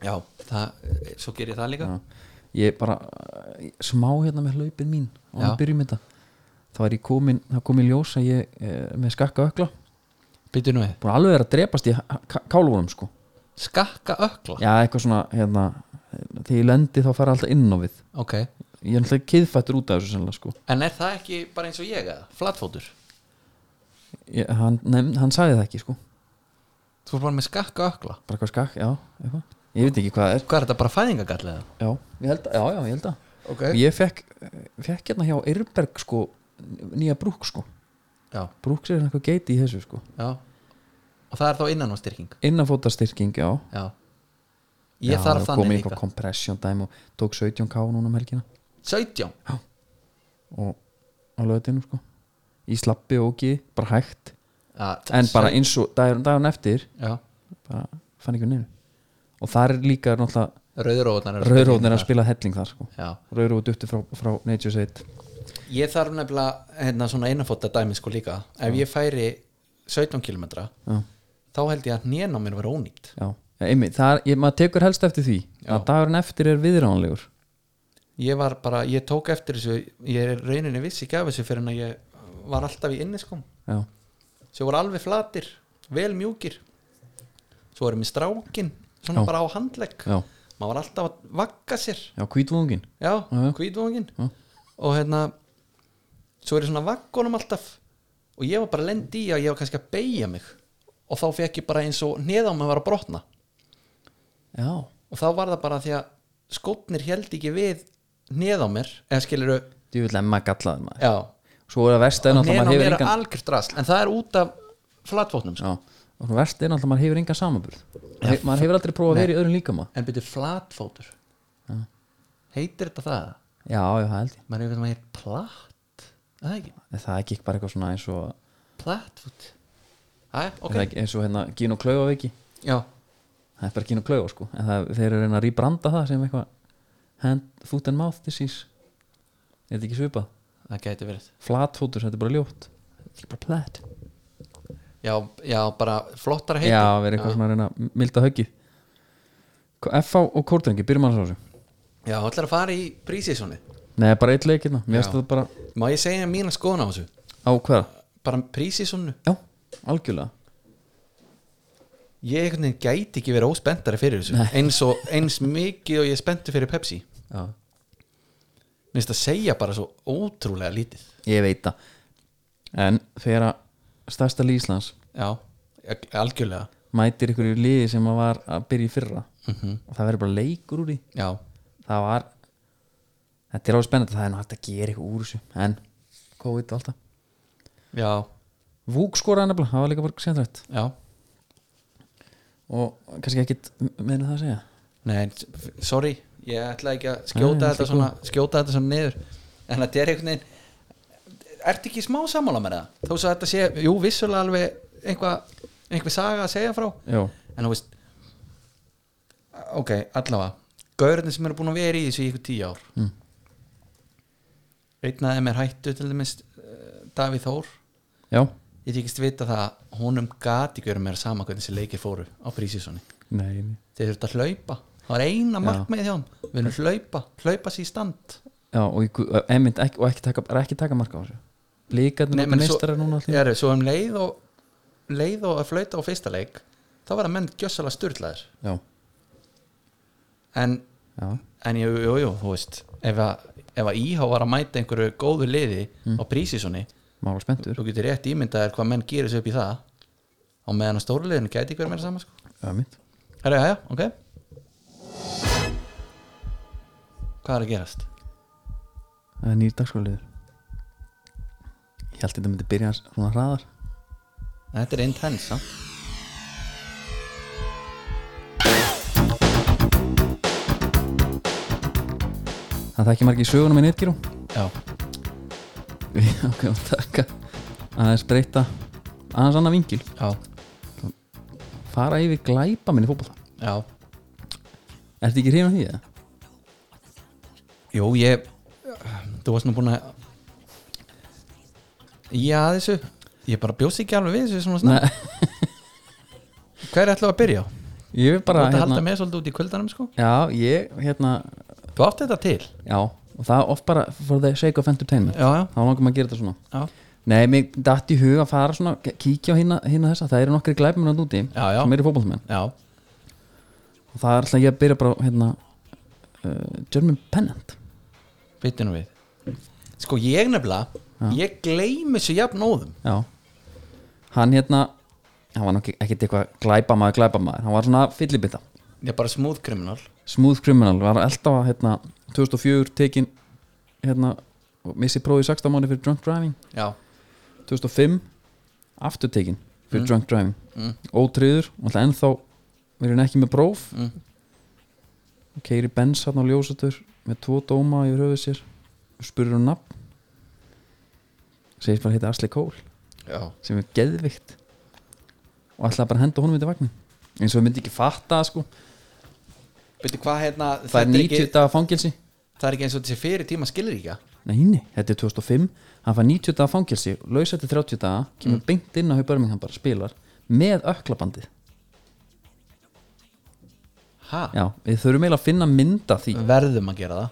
S2: já, það, svo ger ég það líka
S1: já. ég bara eh, smá hérna með hlaupin mín og hann
S2: Já.
S1: byrjum þetta þá er ég komin, það kom í ljós að ég eh, með skakka ökla,
S2: býtu nú við,
S1: búin alveg er að drepast í kálvunum sko,
S2: skakka ökla
S1: já eitthvað svona hérna, þegar ég lendi þá fara alltaf inn á við
S2: ok,
S1: ég er alltaf kiðfættur út af þessu sennilega sko
S2: en er það ekki bara eins og ég eða, flatfótur
S1: ég, hann, nefn, hann sagði það ekki sko
S2: þú er bara með skakka ökla
S1: bara hvað skakk, já, eitthvað ég veit ekki hvað það er,
S2: hvað er þetta bara fæðingagall eða
S1: já, ég held að, já, já, ég held að
S2: ok,
S1: og ég fekk, fekk hérna hjá Eirberg sko, nýja brúk sko
S2: já,
S1: brúk sér eitthvað geiti í þessu sko
S2: já og það er þá innan á styrking
S1: innanfótastyrking, já
S2: já, ég þarf
S1: komið
S2: þannig
S1: eitthvað
S2: líka
S1: compression dæmi og tók 17k núna um helgina
S2: 17
S1: og á löðinu sko í slappi og ekki, bara hægt
S2: ja,
S1: en bara eins og dagur, dagun eftir
S2: já,
S1: bara fann ekki nefnir og þar er líka náttúrulega
S2: rauðróðnar
S1: rauðróðnir að spila helling þar sko
S2: já.
S1: rauðróð dutti frá, frá Nature's 8
S2: ég þarf nefnilega hérna, svona einafóta dæmi sko líka
S1: Mm.
S2: ef ég færi 17 km
S1: já,
S2: þá held ég að nén á mér var ónýtt
S1: já, já einmitt, þar, ég, maður tekur helst eftir því að dagurinn eftir er viðránlegur
S2: ég var bara, ég tók eftir þessu ég er rauninni vissi ekki af þessu fyrir en að ég var alltaf í inniskum
S1: já,
S2: svo voru alveg flatir, vel mjúkir svo erum við strákin svona
S1: Já.
S2: bara á handlegg
S1: já,
S2: maður var alltaf að vagga sér
S1: já, kvítvungin
S2: já,
S1: já.
S2: hvítvóngin
S1: Já.
S2: og hérna svo er ég svona vaggunum alltaf og ég var bara lend í að ég var kannski að beigja mig og þá fekk ég bara eins og neða á mig var að brotna
S1: já,
S2: og þá var það bara því að skotnir held ekki við neða á mér eða skilur
S1: þú vil emma gallaði maður
S2: já,
S1: svo er að versta en alltaf
S2: neðan á
S1: maður
S2: mér
S1: hefur
S2: er
S1: engan
S2: algjört rast en það er út af flatvotnum sko.
S1: Já, og svona verst er náttúrulega maður hefur engan samanburð ja, maður hefur aldrei prófað að vera í öðrum líkama
S2: en byrju flatfótur
S1: Já.
S2: heitir þetta það?
S1: já, já, það held ég
S2: maður hefur eitthvað hér platt Er það ekki,
S1: En það er ekki bara eitthvað svona eins og
S2: plattfót Æ, ok,
S1: okay. eins og hérna Gino Klauaveiki
S2: já
S1: það er bara Gino Klauva sko en það, þeir eru að reyna að rýbranda það sem eitthvað hand, foot and mouth disease er þetta ekki svipað?
S2: það gæti verið
S1: flatfótur, þetta er bara ljótt þetta er bara plat
S2: já, já, bara flottara heiti
S1: já, verið eitthvað svona að reyna að milda höggið K- FH og Kortrengi, byrjum annars á þessu
S2: já allar að fara í prísísóni
S1: nei, bara eitt leikirna, mér
S2: Já.
S1: finnst þetta bara
S2: má ég segja mína skoðun á þessu
S1: á hverja,
S2: bara prísísónu
S1: já, algjörlega
S2: ég einhvern veginn gæti ekki verið óspenntari fyrir þessu eins og eins mikið og ég spennti fyrir Pepsi
S1: já.
S2: minnst að segja bara svo ótrúlega lítið
S1: Ég veit það En þegar að stærsta lið Íslands
S2: já, e- algjörlega
S1: mætir ykkur í liði sem að var að byrja í fyrra
S2: Mhm.
S1: og það verður bara leikur úr því
S2: já,
S1: það var þetta er alveg spennandi það er náttúrulega að gera eitthvað úr þessu en COVID og alltaf
S2: já,
S1: Vúk skoraði nefnilega, það var líka bara sent rætt
S2: já
S1: og kannski ekkit meðin það að segja
S2: nei, f- sorry, ég ætla ekki að skjóta
S1: Nei,
S2: þetta
S1: allt í
S2: svona skjóta þetta svona niður en þetta er einhvern veginn ertu ekki í smá sammála með það þó svo að þetta sé, jú, vissulega alveg einhvað, einhver saga að segja frá
S1: Já,
S2: en þú veist ok, allavega gaurinn sem eru búin að vera í þessu í ykkur tíu ár
S1: Mm.
S2: einn af þeim er hættu til dæmis eh, Davíð Þór
S1: já,
S2: ég tíkist vita það að honum gati görum mér sama hvernig þessi leikir fóru á prísísoni
S1: nei, nei.
S2: þeir þurft að hlaupa, það var eina
S1: Já.
S2: markmið hjá hann við erum hlaupa, hlaupa sér í stand
S1: já og, ég, einmitt, ekki, og ekki taka, bara ekki taka marka á þessu
S2: Nei,
S1: blíkarnir
S2: menn
S1: áttu
S2: svo-
S1: meistarar núna allir
S2: Heru, svo um leið og leið og að flauta á fyrsta leik þá var að menn gjössalega styrlaðir
S1: já,
S2: en,
S1: já,
S2: en jú, jú, jú, þú veist ef að, ef að íhá var að mæta einhverju góðu liði á prísísoni
S1: maður var spenntur
S2: þú getur rétt ímyndaðir hvað menn gerir sig upp í það og meðan að stóruleginu gæti ykkur meira saman sko.
S1: já, mitt
S2: Herra, já, já, ok Hvað er að gerast?
S1: það er nýr dagskóliður ég held þetta myndi byrja svona hraðar
S2: Þetta er intense, já
S1: það er ekki margir í sögunum í netgíru
S2: Já,
S1: við ákveðum að taka aðeins breyta aðeins annað vingil
S2: já,
S1: fara yfir glæpa minni fótbolta
S2: já
S1: ertu ekki hrifin af því eða?
S2: Jú, ég Þú varst nú búin að Já, þessu Ég bara bjóst ekki alveg við þessu svona snar
S1: Nei,
S2: Hvað er ætlaðu að byrja á?
S1: ég vil
S2: Þú
S1: bara
S2: ætti að halda
S1: hérna,
S2: með svolítið út í kuldanum, sko
S1: já, ég hérna,
S2: Þú átti þetta til
S1: já, og það er oft bara for the sake of entertainment
S2: Já, já,
S1: þá langar maður að gera þetta svona
S2: já,
S1: nei, mér datt í hug að fara svona k- kíkja á hérna, hérna þessa, það eru nokkri glæpa minna úti
S2: já, já,
S1: sem eru fótboltamenn
S2: já.
S1: og það er alltaf ég að byrja bara á, hérna uh, German Pennant
S2: Byttu nú við Sko, ég nefnilega, ég gleymi þessu jafn óðum
S1: Já Hann hérna Hann var nokki ekkert eitthvað glæpamaður glæpamaður Hann var svona fyllibita
S2: Ég er bara smooth criminal
S1: Smooth criminal Var alltaf hérna 2004 tekin Hérna Missi prófið í 16 mánu fyrir drunk driving
S2: Já,
S1: 2005 Aftur tekin Fyrir drunk driving
S2: Mm.
S1: Ótriður og alltaf ennþá Verið hann ekki með próf
S2: Mm.
S1: Keiri Benz hann á ljósatur Með tvo dóma yfir höfuð sér Spurur um nafn Segist bara heita Asli Kól
S2: já,
S1: sem er geðvikt og ætlaði bara að henda honum í vagnin eins og þau myndi ekki fatta það, sko
S2: Veitu hvað hérna
S1: það er
S2: þetta
S1: 90
S2: ekki,
S1: daga fangelsi
S2: það er ekki eins og þessi fyrir tíma skilur ekki
S1: nei, nei, þetta er 2005 hann fær 90 daga fangelsi, lausa til 30 daga
S2: Mm.
S1: kemur beint inn á haupörming hann bara spilar með öklabandið
S2: Hæ?
S1: já, við þurfum eiginlega að finna mynda því
S2: Mm. Verðum að gera það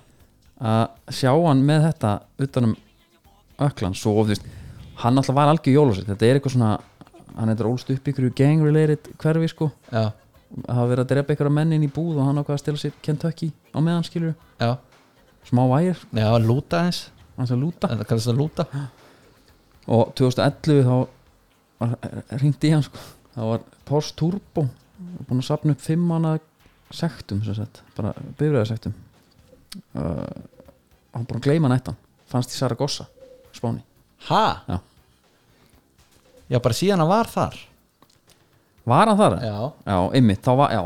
S1: að sjá hann með þetta utanum öklan svo of, þú veist, hann alltaf var algjör jólasett þetta er eitthvað svona, hann eitthvað ólst upp í ykkur gang related hverfi sko
S2: Já,
S1: hafa verið að drepa ykkur að mennin í búð og hann ákvað að stila sér Kentucky á meðan skilur
S2: já,
S1: smá vægir,
S2: já, lúta eins
S1: hans að lúta
S2: Þetta kallast að lúta
S1: og 2011 þá var ringdi í hann sko þá var Porsche Turbo búin að sapna upp fimm manna sektum sem sagt, bara bifræða sektum uh, hann búin að gleyma nættan fannst í Saragossa, Spáni
S2: Hæ?
S1: Já.
S2: Já, bara síðan að var þar
S1: var hann þar?
S2: Já,
S1: já, einmitt, þá var, já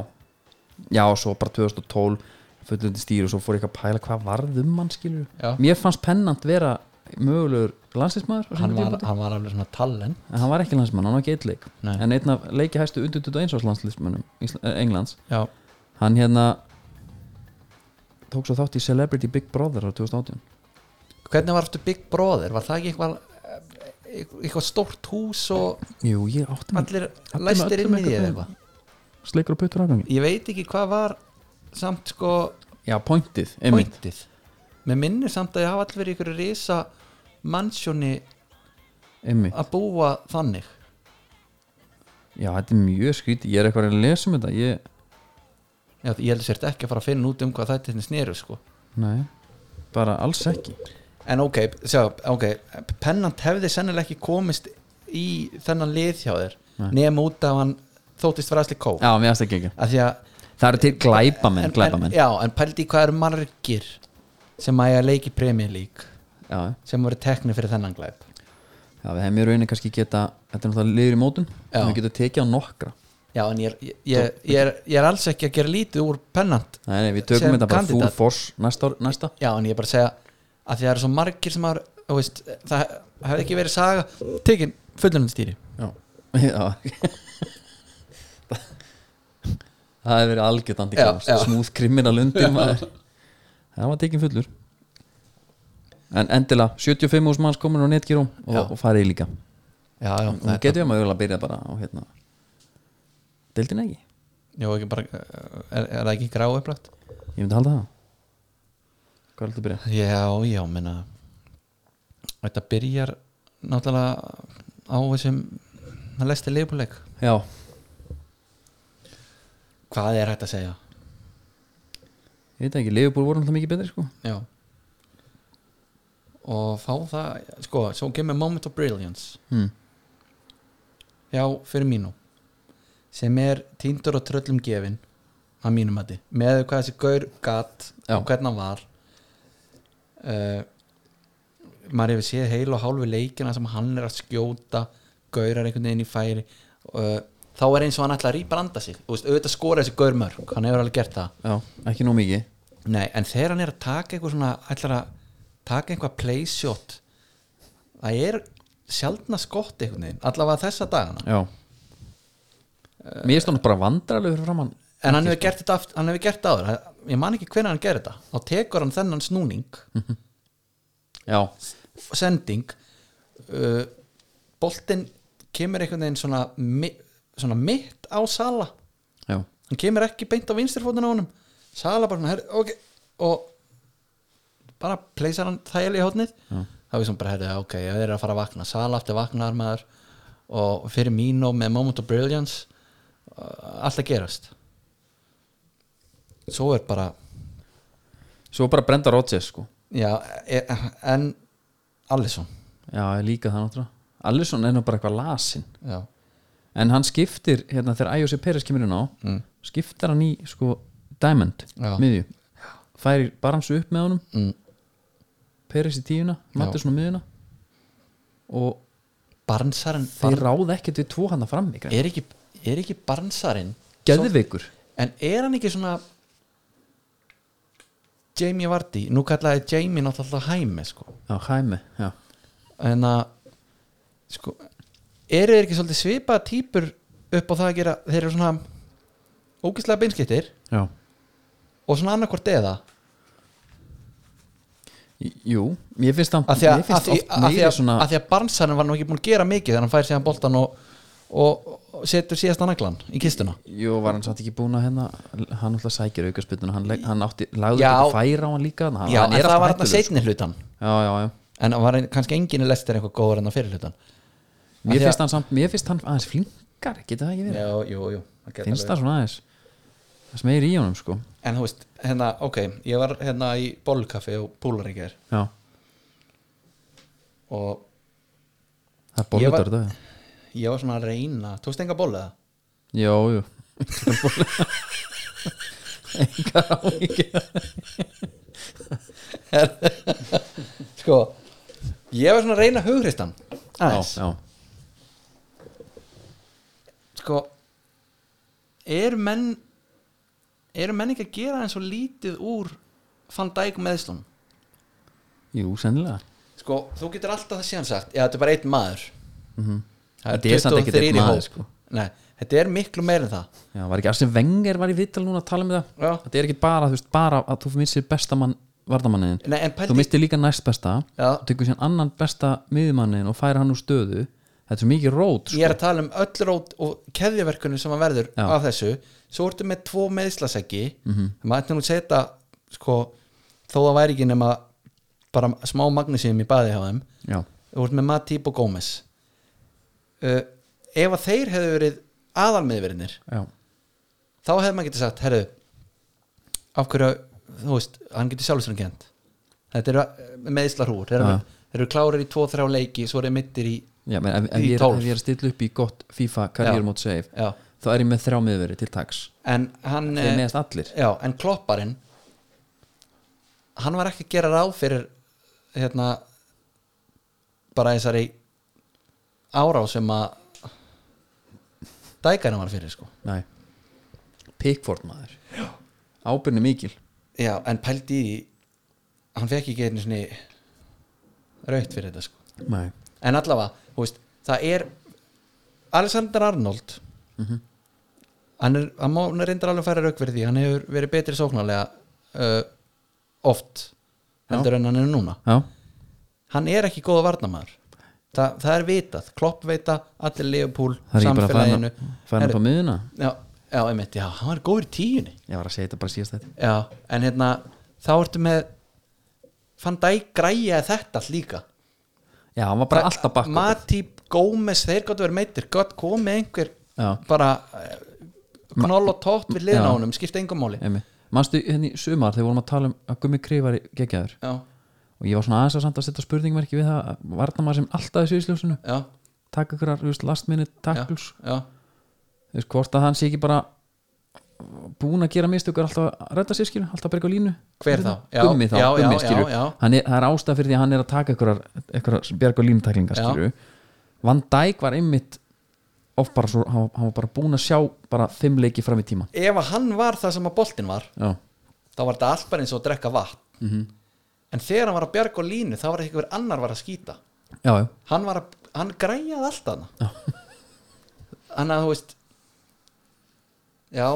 S1: já, svo bara 2012 fullundi stýri og svo fór ég að pæla hvað varð um hann skilur
S2: já
S1: mér fannst pennant vera mögulegur landslísmaður
S2: Hann var, hann var alveg svona tallen
S1: en hann var ekki landsmann, hann var ekki eitt leik
S2: Nei.
S1: en einn af leiki hæstu undir 21 árs landslismönnum eh, Englands,
S2: Já,
S1: hann hérna tók svo þátt í Celebrity Big Brother á 2018
S2: hvernig var aftur Big Brother? Var það ekki eitthvað eh, eitthvað stórt hús og
S1: jú, ég átti mig
S2: allir
S1: allir með
S2: læstir
S1: öllum
S2: inn í því eða
S1: eitthvað.
S2: eitthvað
S1: sleikur og puttur afgangi
S2: Ég veit ekki hvað var samt sko
S1: já, pointið, einmitt
S2: pointið Mér minnir samt að ég hafa allir verið í einhverju risa mansjóni
S1: einmitt,
S2: að búa þannig
S1: já, þetta er mjög skrítið ég er eitthvað að lesa um þetta ég,
S2: Já, ég heldur sért ekki að fara að finna út um hvað þetta hérna sneru sko.
S1: nei, bara alls ekki
S2: en ok, sjá, ok Pennant hefði sennilega ekki komist í þennan lið hjá þér
S1: Nei.
S2: nema út af hann þóttist vera allir kó
S1: já, mér aðst ekki ekki,
S2: að því að
S1: það eru til glæpamenn
S2: en,
S1: glæpamenn,
S2: já, en pældi í hvað eru margir sem að ég að leiki Premier League
S1: já,
S2: sem voru tekni fyrir þennan glæp
S1: já, við hefum í rauninni kannski geta þetta er náttúrulega liður í mótun
S2: Já.
S1: við getum tekið á nokkra
S2: já, en ég, ég, ég, ég, er, ég er alls ekki að gera lítið úr Pennant
S1: nei, nei, við tökum
S2: Sem
S1: þetta bara full
S2: kandidat.
S1: force næsta, ár- næsta
S2: já, en ég er bara að segja að því að það eru svo margir sem að þú veist, það hefði ekki verið saga tekin fullunumstýri
S1: Já, já. Það hefur verið algjörð antikrams
S2: Já, já.
S1: Smúð kriminal undir maður Það var tekin fullur En endilega, 75 hús manns komin á netgírum og,
S2: Já.
S1: og farið í líka
S2: já, já,
S1: og getur við maður að byrja bara á hérna deildin ekki,
S2: já, ekki bara er, er það ekki grá upplætt?
S1: ég myndi halda það hvað er þetta að byrja?
S2: Já, já, menna þetta byrjar náttúrulega á þessum hann lesti leifuleik
S1: já,
S2: hvað er hægt að segja?
S1: ég veit ekki, Leifubúr voru alltaf mikið betri sko
S2: Já og fá það, sko, svo kemur moment of brilliance
S1: hmm.
S2: já, fyrir mínu sem er týndur og tröllum gefin að mínum að þið með hvað þessi gaur gatt
S1: Já.
S2: og hvernig hann var uh, maður hefur séð heil og hálfi leikina sem hann er að skjóta gaurar einhvern veginn í færi uh, þá er eins og hann ætla að rýbranda sig Þú veist, auðvitað skora þessi gaur mörg hann hefur alveg gert það
S1: já, ekki nóg mikið
S2: Nei, en þegar hann er að taka eitthvað svona ætlar að taka eitthvað playshot það er sjaldna skott einhvern veginn, allavega þessa dagana
S1: já mér er stóðan bara vandralegu fyrir framann
S2: en hann hefur gert þetta aft- hann hefur gert áður ég man ekki hvernig hann gerir þetta þá tekur hann þennan snúning
S1: já,
S2: sending uh, boltinn kemur einhvern veginn svona, mi, svona mitt á Sala
S1: já,
S2: hann kemur ekki beint á vinstirfótun á honum Sala bara svona, herri, ok og bara pleysar hann þæl í hótnið
S1: Já.
S2: þá við sem bara, herri, ok, ég er að fara að vakna Sala aftur vaknaðar maður og fyrir mín og með Moment of Brilliance uh, allt að gerast svo er bara
S1: svo bara Brenda Rodgers sko
S2: já, e- en Alisson
S1: já, ég líka það náttúrulega Allison er nú bara eitthvað lasin
S2: já,
S1: en hann skiptir, hérna þegar Ayosi Peres kemur inn á
S2: mm.
S1: skiptar hann í sko Diamond,
S2: Já.
S1: miðju færir Barnes upp með honum
S2: Mm.
S1: Peres í tíuna, Mattisson á miðjuna og
S2: Barnsarinn
S1: þeir ráða ekkert við tvo handa frammi
S2: Barn- er ekki, er ekki Barnsarinn
S1: Geðveikur
S2: en er hann ekki svona Jamie Vardy nú kallaði Jamie náttúrulega hæmi sko.
S1: Já, hæmi, já
S2: en að sko, eru þeir ekki svolítið svipaða típur upp á það að gera þeir eru svona ógislega beinskittir
S1: Já
S2: og svona annarkvort eða
S1: Jú, ég finnst það
S2: að því að,
S1: Mér finnst
S2: að, því,
S1: oft
S2: að, því
S1: meiri
S2: að,
S1: svona
S2: að, því að Barnsarinn var nú ekki búin að gera mikið þegar hann fær síðan boltan og, og, og setur síðasta naglan í kistuna
S1: Jú, var hann samt ekki búin að hérna Hann alltaf sækir aukaspillinu Hann, leik- hann átti, lagði
S2: Já.
S1: þetta færa á hann líka hann,
S2: já,
S1: hann
S2: en það var
S1: alltaf
S2: þarna
S1: hættulegur,
S2: seinni hlutan
S1: sko. Já, já, já
S2: en það var ein- kannski enginn í lestir eitthvað góður en á fyrir hlutan Af
S1: Mér
S2: því að-
S1: finnst, hann samt, mér finnst hann aðeins flinkar Getur það ekki verið?
S2: já, jú, jú það gæti alveg
S1: finnst það svona aðeins Það sem er í honum, sko
S2: En þú veist, hérna, ok, ég var hérna í bollkaffi og púlar í gær
S1: Já,
S2: og
S1: það er
S2: Ég
S1: bólutur
S2: var-
S1: þetta já.
S2: ég var svona að reyna, tókst enga boll eða?
S1: Jú, jú Engar á ekki
S2: Sko, ég var svona að reyna hugristan aðeins,
S1: Já, já
S2: sko eru menn eru menn ekki að gera eins og lítið úr fann dæk meðslun
S1: Jú, sennilega
S2: sko, þú getur alltaf það síðan sagt já, þetta er bara einn maður
S1: mm
S2: Það
S1: Þetta er samt ekkert einn
S2: 23 í
S1: maður,
S2: hóp.
S1: sko.
S2: Nei, þetta er miklu meir en það
S1: Já, var ekki Arsene Wenger var í viðtal núna að tala með það
S2: Já.
S1: Þetta er ekki bara, þú veist, bara að þú missir besta mann vardamanniðin
S2: Nei, en
S1: Þú
S2: pældi,
S1: missir líka næst besta
S2: já,
S1: og tekur sér annan besta miðmanniðin og færi hann úr stöðu Þetta er svo mikið rót,
S2: ég er að tala um öll rót og keðjaverkunum sem að verður
S1: Sko. Já. Mhm.
S2: af þessu svo ertu með tvo meðslaseggi mm -hmm. maður ætti nú að setja sko, þó það væri ekki nema bara smá magnísum í baði hjá þeim
S1: sko Já,
S2: þú ert með Matip og Gómez uh, ef að þeir hefðu verið aðalmiðverðinir
S1: já,
S2: þá hefði maður getið sagt herru, af hverju þú veist, hann getur sjálfsverðin kent þetta eru meðslarhúr þeir eru,
S1: Já.
S2: þeir eru klárir í tvo, þrjá leiki svo eru mittir í,
S1: já menn, ef, ef,
S2: Í
S1: ég er,
S2: tólf.
S1: ef ég er að stilla upp í gott FIFA karriér mót save
S2: já,
S1: þá er ég með þrjá miðveri til tax
S2: en hann uh,
S1: Þeir meðast allir
S2: Já, en klopparinn hann var ekki að gera ráð fyrir hérna bara þessari árá sem að dækarinn var fyrir sko
S1: Nei Pickford maður Ábyrni mikil
S2: Já, en pældi í því, hann fekk ekki einu sinni raut fyrir þetta sko
S1: Nei
S2: en allavega, þú veist, það er Alexander Arnold
S1: Mhm.
S2: hann er, hann má hann reyndar alveg færa rauk fyrir því, hann hefur verið betri sóknarlega uh, oft heldur en hann er núna
S1: Já,
S2: hann er ekki góða varnamaður Þa, það er vitað, klopp veita allir Leopold,
S1: það er ég bara að fara
S2: samfélaginu
S1: hann- fara hann
S2: Herru,
S1: upp á miðuna
S2: já, já, einmitt, já, hann var góður í tíunni
S1: ég var að segja þetta bara síðast þetta
S2: já, en hérna þá ertu með fann dæk græja þetta allt líka
S1: já, hann var bara alltaf bakk
S2: Matip, Gómez, þeir gott verið meittir gott komið einhver
S1: Já.
S2: bara eh, knoll og tótt við liðna
S1: Já.
S2: honum, skipta engum máli
S1: manstu henni í sumar þegar vorum að tala um að gummi krifari geggjaður
S2: já,
S1: og ég var svona aðeins að samt að setja spurningmerki við það að varna maður sem alltaf í sviðsljósinu
S2: já,
S1: taka ykkur að last minute tackles
S2: já
S1: þú veist hvort að hann sé ekki bara búin að gera mistökur alltaf að redda sér skilu, alltaf að berga á línu
S2: Hver þá? Já,
S1: gummi þá,
S2: já, já,
S1: gummi skilu
S2: já, já.
S1: Hann Er, það er ástæð fyrir því að hann er að taka einhverjar einhverjar berga á línutæklingar
S2: Já.
S1: skilu Van Dijk var einmitt oft bara svo, hann, hann var bara búin að sjá bara þeim leiki fram í tíma
S2: ef að hann var það sem að boltinn var
S1: já,
S2: þá var þetta allt bara eins og að drekka vatn
S1: Mhm.
S2: -hmm. en þegar hann var að bjarga á línu þá var eitthvað annar var að skýta
S1: já, já,
S2: hann, var að, hann græjaði allt hann hann að þú veist já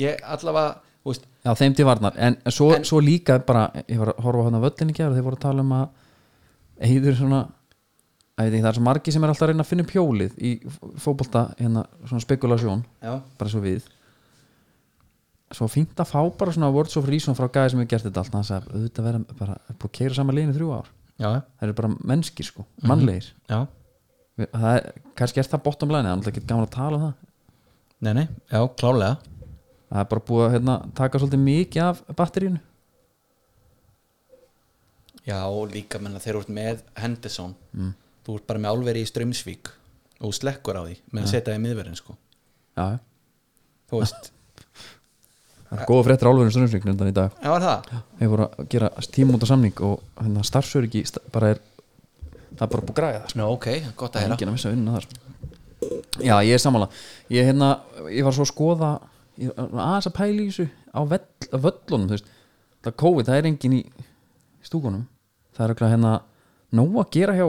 S2: ég allavega þú veist,
S1: já þeim til varnar en svo,
S2: En-
S1: svo líka bara, ég var að horfa á hann á völlinni gera og þeir voru að tala um að heiður svona að veit ekki, það er svo margi sem er alltaf að reyna að finna upp hjólið í fótbolta hérna, svona spekulasjón
S2: já,
S1: bara svo við svo fínt að fá bara svona words of reason frá gæði sem hefur gert þetta allt hann sagði auðvitað verða bara er búið að keira saman liðin í þrjú ár
S2: já,
S1: það eru bara mennskir sko, mannlegir
S2: já
S1: Við- það er, kannski er það bottom line það er náttúrulega ekki gaman að tala um það
S2: nei, nei, já, klálega
S1: það er bara búið að hérna, taka svolítið mikið af batterínu
S2: já, og líka menna þeir eru með Henderson mm. þú ert bara með álveri í Strömsvík og þú slekkur á því með að setja í miðverðin sko
S1: já, já.
S2: þú veist,
S1: það er góða fréttir álverðin strömsvíknum undan í dag
S2: já var það
S1: þeir voru að gera tíma út af samning og hérna, starfsöryggi sta- bara er það er bara búið að græða það sko.
S2: Nú, ok, gott að
S1: það er
S2: heyra
S1: enginn að missa vinnuna þar sko. já, ég er sammála ég, hérna, ég var svo að skoða ég, var aðeins að pæla í þessu á vell, á völlunum þú veist. það er COVID, það er enginn í stúkunum það er örugglega hérna nóg að gera hjá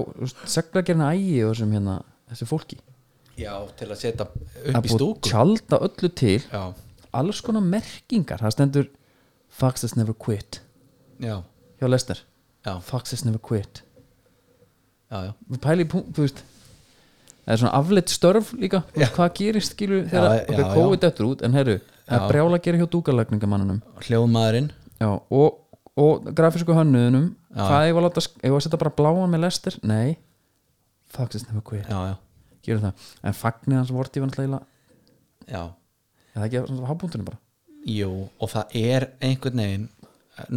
S1: seglagerna ægi og þessum hérna þessu fólki
S2: Já, til að setja
S1: Það er
S2: upp í
S1: búið að
S2: stúku
S1: tjalda öllu til
S2: Já,
S1: alls konar merkingar, það stendur Fox has never quit
S2: já,
S1: hjá Lester,
S2: já,
S1: Fox has never quit
S2: já, já.
S1: við pæli í punkt, þú veist það er svona afleitt störf líka þú veist, hvað gerist skilur
S2: Já,
S1: þegar ok,
S2: já, já.
S1: COVID eftir út en herru, það
S2: Já.
S1: er brjála að gera hjá dúkalagningamannunum
S2: Hljóðmaðurinn
S1: já, og, og grafísku hönnuðunum
S2: Já.
S1: hvað ég var að láta, ég var að setja bara bláan með lestir nei, faxist nefnir hver
S2: Já, já,
S1: gerum það, en fagnir hans vorti var náttúrulega,
S2: já
S1: er það ekki svona hábúndurinn bara
S2: Jú, og það er einhvern veginn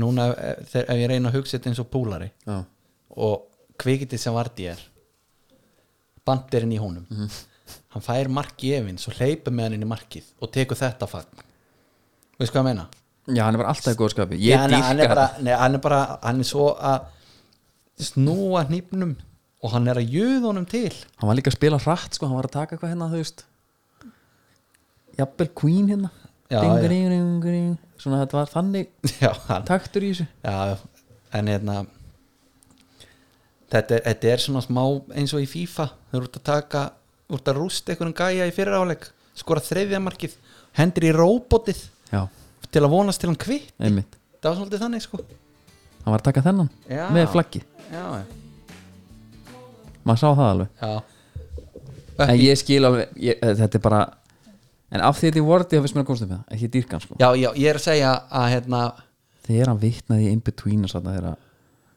S2: Núna, eh, þegar ef ég reyna að hugsa þetta eins og púlari
S1: já,
S2: Og kvikitið sem vardi er Bandirinn í honum
S1: Mhm.
S2: Hann fær marki efinn Svo hleypa með hann inn í markið Og tekur þetta fagn Veist hvað ég meina?
S1: já hann er bara alltaf í góðu skapi
S2: Já,
S1: ég
S2: hann, hann, er
S1: dýrka
S2: bara,
S1: þetta
S2: nei, hann er bara Hann er svo að snúa hnýpnum Og hann er að jöð honum til
S1: hann var líka að spila hratt, sko, hann var að taka eitthvað hérna þú veist jafnvel Queen hérna
S2: Já,
S1: ding,
S2: já.
S1: ding, ding, ding. svona þetta var þannig
S2: Já, hann
S1: taktur í þessu
S2: Já, en hérna þetta er, þetta er svona smá eins og í FIFA þau eru út að taka, út að rústa einhvern gæja í fyrra áleik, skora þriðja markið hendur í róbotið
S1: já,
S2: til að vonast til hann kvitt
S1: einmitt,
S2: það var svolítið þannig sko
S1: hann var að taka þennan
S2: Já.
S1: með flaggi,
S2: Já,
S1: maður sá það alveg
S2: já
S1: en ég skil alveg, ég, þetta er bara en af því þetta er vortið að við sem erum að komast upp með það ekki dýrkan sko,
S2: Já, já, ég er að segja að hérna
S1: þegar hann vitnaði í in-between og svona þegar,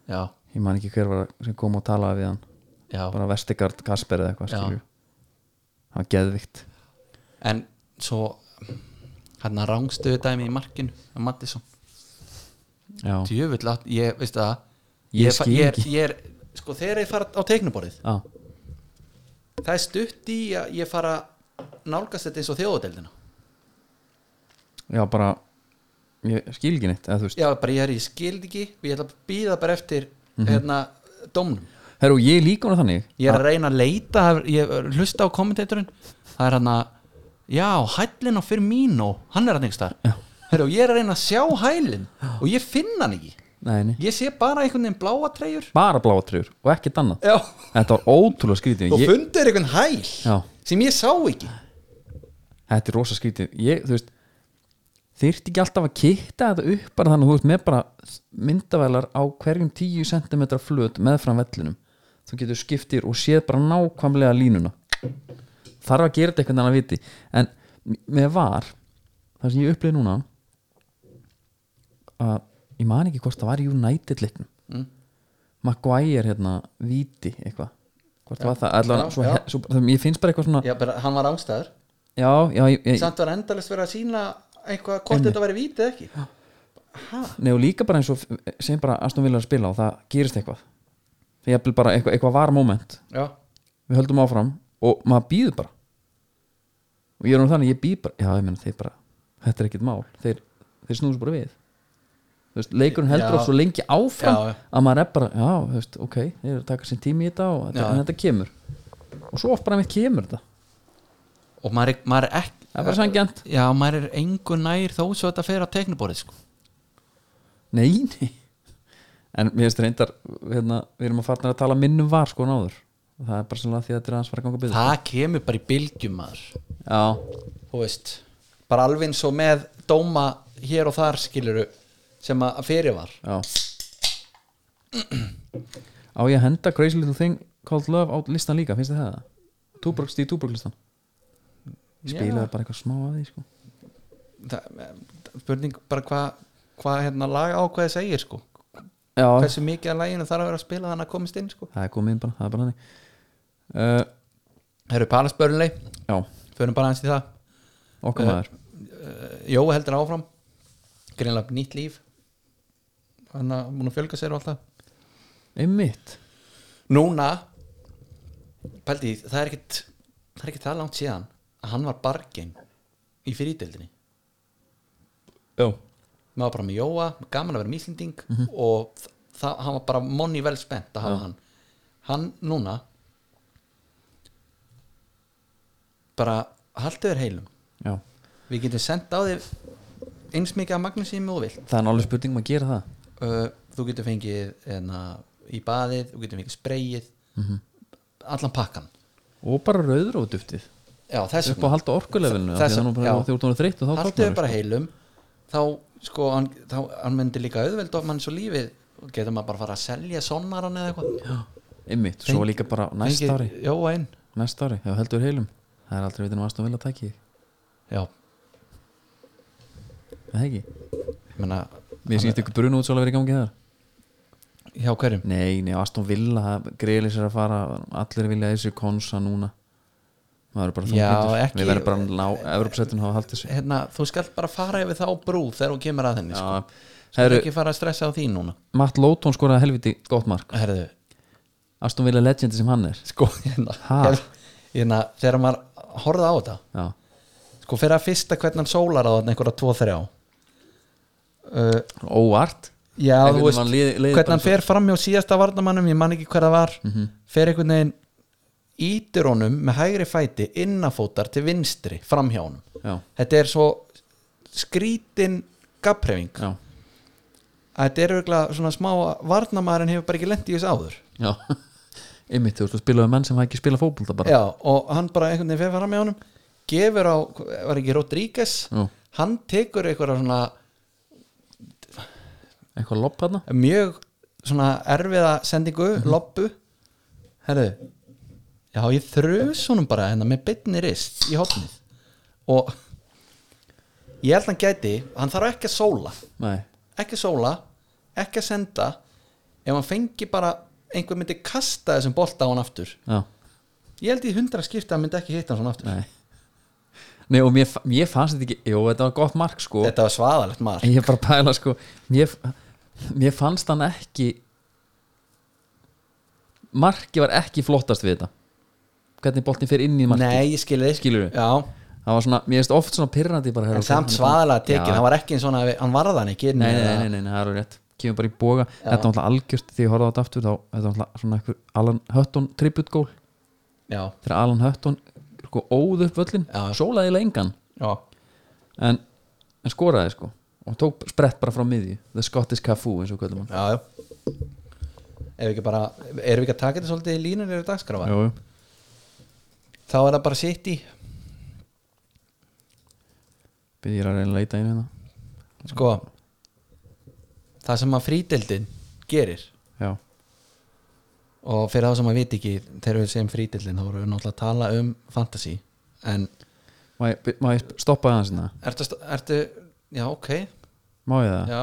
S2: já,
S1: ég man ekki hver var að- sem kom og talaði við hann,
S2: já,
S1: bara Vestigard Kasper eða eitthvað,
S2: Já.
S1: skilju það var geðvikt,
S2: en svo hérna rángstöðu dæmi í markinu að Mattisson
S1: já
S2: djöfull að, ég, veistu það
S1: Ég
S2: er fa-
S1: skil
S2: ég, er,
S1: ekki.
S2: ég er, sko þegar ég fara á teiknuborðið
S1: á,
S2: það er stutt í að ég fara nálgast þetta eins og þjóðadeldina
S1: já bara ég skil ekki neitt, eða þú veist
S2: já, bara ég er í skildiki og ég ætla að býða bara eftir
S1: Mhm.
S2: hérna, dómnum
S1: herru, ég er líka hann þannig
S2: ég er að reyna að leita ég er að hlusta á kommentatorinn það er hann að, já, hælinn á fyrir mín og hann er hann einhvers
S1: Já.
S2: þar Heru, ég er að reyna að sjá hælinn og ég finn hann ekki
S1: nei, nei.
S2: ég sé bara einhvern veginn bláa treyjur
S1: bara bláatrýr og ekkert annað
S2: já,
S1: þetta var ótrúlega skrítið
S2: og
S1: ég,
S2: fundur einhvern hæl
S1: Já.
S2: sem ég sá ekki
S1: þetta er rosa skrítið ég, þú veist þyrfti ekki alltaf að kitta þetta upp bara þannig að þú veist með bara myndavælar á hverjum 10 cm flöt meðfram vellinum þú getur skiptir og séð bara nákvæmlega línuna þarf að gera þetta eitthvað annað viti en m- með var það sem ég upplýði núna að ég man ekki hvort það var í United leiknum
S2: Mm.
S1: Maguire hérna viti eitthvað hvort það var það, allavega
S2: Já,
S1: svo,
S2: já.
S1: he- svo, það, ég finnst bara eitthvað svona já,
S2: Já, bara, hann var ástæður
S1: já, ég, ég,
S2: samt var endalist verið að sína eitthvað hvort
S1: Einmitt.
S2: þetta væri vítið eða ekki ha,
S1: Nei og líka bara eins og sem bara Aston Villa er að spila og það gerist eitthvað það er jafnvel bara eitthvað, eitthvað var moment
S2: já,
S1: við höldum áfram og maður býður bara og ég er nú þannig, ég býð bara já, ég meina, þeir bara, þetta er ekkit mál þeir, þeir snúðu svo bara við Þú veist, leikurinn heldur
S2: Já.
S1: oft svo lengi áfram
S2: Já, já.
S1: að maður er bara, já, þú veist, ok þeir eru að taka sinn tími í þetta og þetta,
S2: Já.
S1: en þetta kemur og svo oft bara mitt kemur þetta
S2: og maður er, maður er ekki
S1: það er bara sangjant,
S2: já, maður er engu nær þó svo þetta fer á tekniborið sko.
S1: nei, nei en mér finnst reyndar hérna, við erum að farna að tala minnum var sko náður og það er bara sannlega því að þetta er aðeins fara að ganga byrð
S2: það kemur bara í bylgjum maður
S1: já,
S2: þú veist, bara alveg eins og með dóma hér og þar skiluru sem að fyrir var
S1: Já Á ég að henda Crazy Little Thing Called Love á listan líka, finnst þið það? Túborg, stíð Túborg listan Spilaði bara eitthvað smá að því sko.
S2: það, eh, spurning bara hvað hva, hérna lag ákvæði segir sko
S1: Já,
S2: hversu mikið af læginu þarf að vera að spila þannig að komast inn sko
S1: það er komið inn bara, það er bara hannig uh,
S2: Herru Palasbörnlei,
S1: Já,
S2: förum bara hans í það
S1: okkar
S2: Eh,
S1: maður
S2: uh, Jó heldur áfram greinlega nýtt líf þannig að múin að fjölga sér og alltaf
S1: Einmitt
S2: núna pældi, því, það er ekkit það er ekkit það langt síðan að hann var bargeim í fyrirdeldinni
S1: Já,
S2: maður var bara með Jóa, gaman að vera míslending mm
S1: Mhm.
S2: -hmm. og þa- það, hann var bara monni vel spennt að hafa hann hann núna bara haldið þér heilum
S1: já
S2: við getum sendt á þig eins mikið af magnusími og þú vilt
S1: Það er nú alveg spurning um að gera það
S2: uh, þú getur fengið enna, í baðið, þú getur fengið spreyið
S1: Mhm.
S2: allan pakkan
S1: Og bara rauður og duftið
S2: já, þess
S1: Upp á að halda orkulefinu
S2: Þess-
S1: Þegar þú
S2: já.
S1: ert orðin þreytt og þá sko.
S2: haldið
S1: tognar
S2: þér bara heilum þá sko hann, þá, hann myndi líka auðveld of mann svo lífið og getur maður bara að fara að selja sonnaran eða eitthvað
S1: Einmitt, svo líka bara næst
S2: Fengið-
S1: ári
S2: já, einn
S1: Næst ári, ef þú heldur heilum Það er aldrei vitinu að Aston Villa tæki þig.
S2: já,
S1: Er Það ekki
S2: ég meina
S1: Mér sýnst ykkur bruna útsál að vera í gangi þar
S2: hjá hverjum
S1: Nei, nei, Aston Villa Greilis er að fara, allir vilja þessu konsa núna maður er bara
S2: Já,
S1: þunglindur.
S2: ekki-
S1: við verðum bara að ná Evropasettin hafa haldið sig
S2: hérna, þú skalt bara fara yfir þá brú þegar hún kemur að henni sko.
S1: Já,
S2: þú
S1: Herru,
S2: er ekki fara að stressa á því núna
S1: Matt Lóton skoraði helviti gott mark
S2: herðu,
S1: Aston Villa legendi sem hann er
S2: sko hérna,
S1: Ha?
S2: hel- hérna, þegar maður horfði á þetta
S1: Já,
S2: sko fyrir að fyrsta hvernig hann sólar á þarna einhverja 2-3 uh,
S1: óvart
S2: já
S1: Einhvern
S2: þú veist
S1: veginn lið- liðið bara
S2: hvernig
S1: Mhm.
S2: hann fer fram hjá síðasta varnamannum ég man ekki hver það var fer einhvern veginn ítir honum með hægri fæti innafótar til vinstri fram hjá honum
S1: Já,
S2: þetta er svo skrítin gapprefing
S1: já,
S2: að þetta er auðvitað svona smá að varnamaðurinn hefur bara ekki lent í þessu áður
S1: já Einmitt, þú veist, þú spilaði menn sem hafa ekki spilað fótbolta bara
S2: já, og hann bara einhvern veginn fer fram hjá honum gefur á, var ekki Rodríguez
S1: Jú.
S2: hann tekur einhverja svona
S1: Eitthvað lopp hérna
S2: mjög svona erfiða sendingu, mm
S1: Mhm.
S2: loppu herðu já, ég þrjus honum bara hérna með bytni rist í hopnið og ég held hann gæti hann þarf ekki að sóla
S1: Nei,
S2: ekki að sóla, ekki að senda ef hann fengi bara einhver myndi kasta þessum bolta á hann aftur
S1: já,
S2: ég held í hundra skipta að hann myndi ekki hitta hann svona aftur
S1: nei Nei, og mér, fa- mér fannst þetta ekki Jú, þetta var gott mark sko
S2: þetta var svaðalegt maður
S1: ég er bara að pæla sko mér, mér fannst hann ekki marki var ekki flottast við þetta hvernig boltin fyrir inn í marki
S2: nei, ég skil þig
S1: Skilurðu?
S2: já,
S1: það var svona, mér finnst oft svona pirrandi bara, hérna,
S2: en samt svaðalega tekin hann var ekki eins svona, hann varða hann ekki inn
S1: nei, nei,
S2: eða-
S1: nei, nei, nei, það er alveg rétt kemur bara í boga, þetta var alltaf algjört því ég horfði á þetta aftur þá, þetta var alltaf svona einhver Alan Hutton tribute goal
S2: já,
S1: þegar Alan Hutton sko óð upp völlin
S2: Já.
S1: sólaði eiginlega engan
S2: já,
S1: en, en skoraði sko og tók sprett bara frá miðju The Scottish Cafu eins og kvöldum hann
S2: já, já. Ef við ekki bara, erum við ekki að taka þetta svolítið í línunni yfir dagskráfa,
S1: jú, jú.
S2: þá er það bara sitt í
S1: Byrði ég er að reyna að leita einu hérna
S2: sko það sem að frídeldin gerir
S1: Já,
S2: og fyrir það sem að viti ekki þegar við segjum frítillin þá vorum við náttúrulega að tala um fantasy en
S1: Má ég, má ég stoppa aðeins hérna?
S2: ertu, að sta- ertu já ok,
S1: Má ég það?
S2: já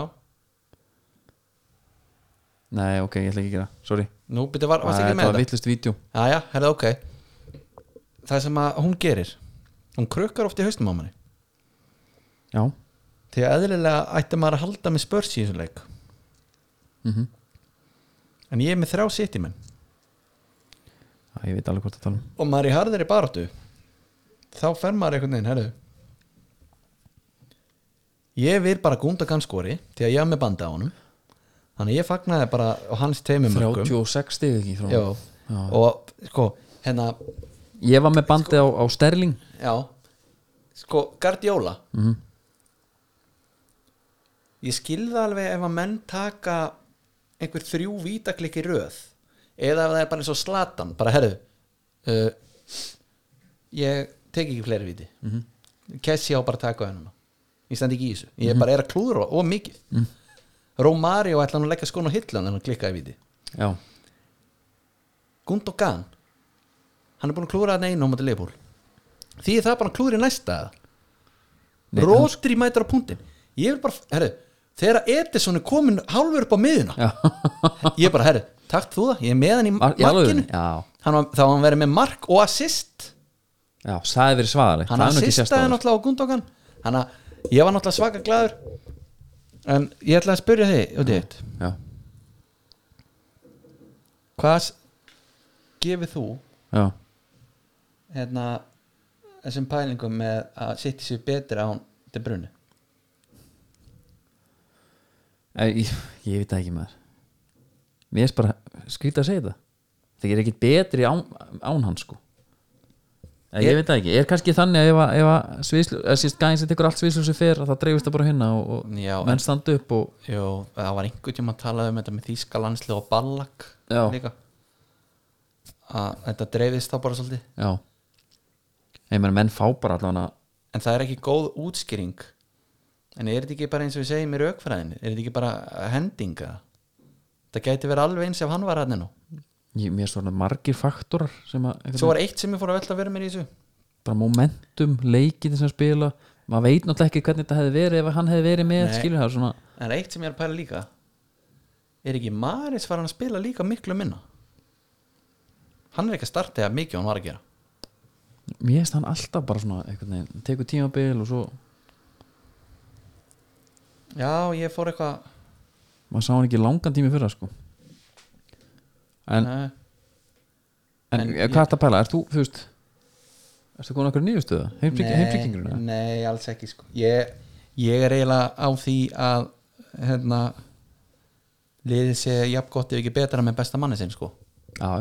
S1: Nei, ok, ég ætla ekki að gera, sorry
S2: nú byrja var, varst
S1: Æ,
S2: ekki með
S1: var
S2: þetta
S1: vittlust vídeo
S2: já já, herðu ok það sem að hún gerir hún krökkar oft í haustum á manni
S1: Já,
S2: því að eðlilega ætti maður að halda með spörs í þessum leik
S1: mm
S2: en ég er með þrjá sitt í menn
S1: ég veit alveg hvort að tala um
S2: og maður er í harðir í baráttu þá fer maður einhvern veginn, herru ég vil bara gúnda ganskori því að ég haf með bandi á honum þannig að ég fagnaði bara á hans teimum
S1: 36 stig ekki frá
S2: já,
S1: Já.
S2: og sko hérna,
S1: Ég var með bandið á, á Sterling
S2: já sko, Guardiola
S1: mm.
S2: ég skilða alveg ef að menn taka einhver þrjú vítaklik í röð eða ef það er bara eins og slatan bara herru uh, ég tek ekki fleiri víti mm -hmm. kessi á bara að taka á hennuna ég stend ekki í þessu, ég bara er að klúðra og mikið mm. Romario ætla hann að leggja skon á hillan en hann klikkaði víti
S1: Já,
S2: Gundogan hann er búin að klúðra hann einu á móti leifból því það er bara að klúðra í næsta
S1: Nei,
S2: Róstri mætir á punktin ég vil bara, herru, þegar Edison er komin hálfur upp á miðuna
S1: já,
S2: ég er bara, herru, takt þú það, ég er með hann í
S1: Í alvöru?
S2: markinu
S1: já,
S2: hann var, þá var hann verið með mark og assist
S1: já, það hefur verið svaðalegt
S2: hann
S1: það er nú ekki
S2: assistaði
S1: sérstæður
S2: náttúrulega á Gundogan hann að, ég var náttúrulega svaka glaður en ég ætla að spyrja þig og þitt,
S1: Já,
S2: hvað s- gefur þú
S1: já,
S2: hérna þessum pælingum með að sitja sér betur án til brunni
S1: ég, ég, ég veit það ekki maður Mér er bara skrýta að segja það Það er ekkit betri án, án hans sko Ég, ég veit það ekki, er kannski þannig að ef að, ef að sviðslu, eða síst gæðin sem tekur allt sviðslösi fer að það dreifist það bara hérna og, og
S2: Já, en-
S1: menn standa upp og
S2: Jó, það var einhvern tíma að tala um þetta með þýska landslið og ballag
S1: Já.
S2: líka að þetta dreifist þá bara svolítið
S1: já Ég menn menn fá bara allavega
S2: en það er ekki góð útskýring en er þetta ekki bara eins og við segjum í raukfræðin er þetta ekki bara hendinga það gæti verið alveg eins ef hann var hann nú
S1: ég, Mér er svona margir faktorar sem að einhvern
S2: svo var eitt sem ég fór að velta að vera mér í þessu
S1: bara momentum, leikið sem spila maður veit náttúrulega ekki hvernig þetta hefði verið ef hann hefði verið með,
S2: Nei.
S1: skilur það er svona
S2: en eitt sem ég er að pæla líka er ekki Maris var hann að spila líka miklu minna hann er ekki að starta eða mikið og hann var að gera
S1: mér finnst hann alltaf bara svona einhvern veginn, tekur tímabil og svo
S2: já, ég fór eitthvað
S1: maður sá hann ekki langan tími fyrra sko en,
S2: Nei.
S1: en,
S2: en
S1: hvað er það að pæla, ert þú, þú veist ert þú komin okkur nýjustuða,
S2: Nei,
S1: heimfríkingurinn
S2: Nei, alls ekki sko ég, ég er eiginlega á því að hérna liðið sé jafn gott ef ekki betra með besta manni sinn sko
S1: já,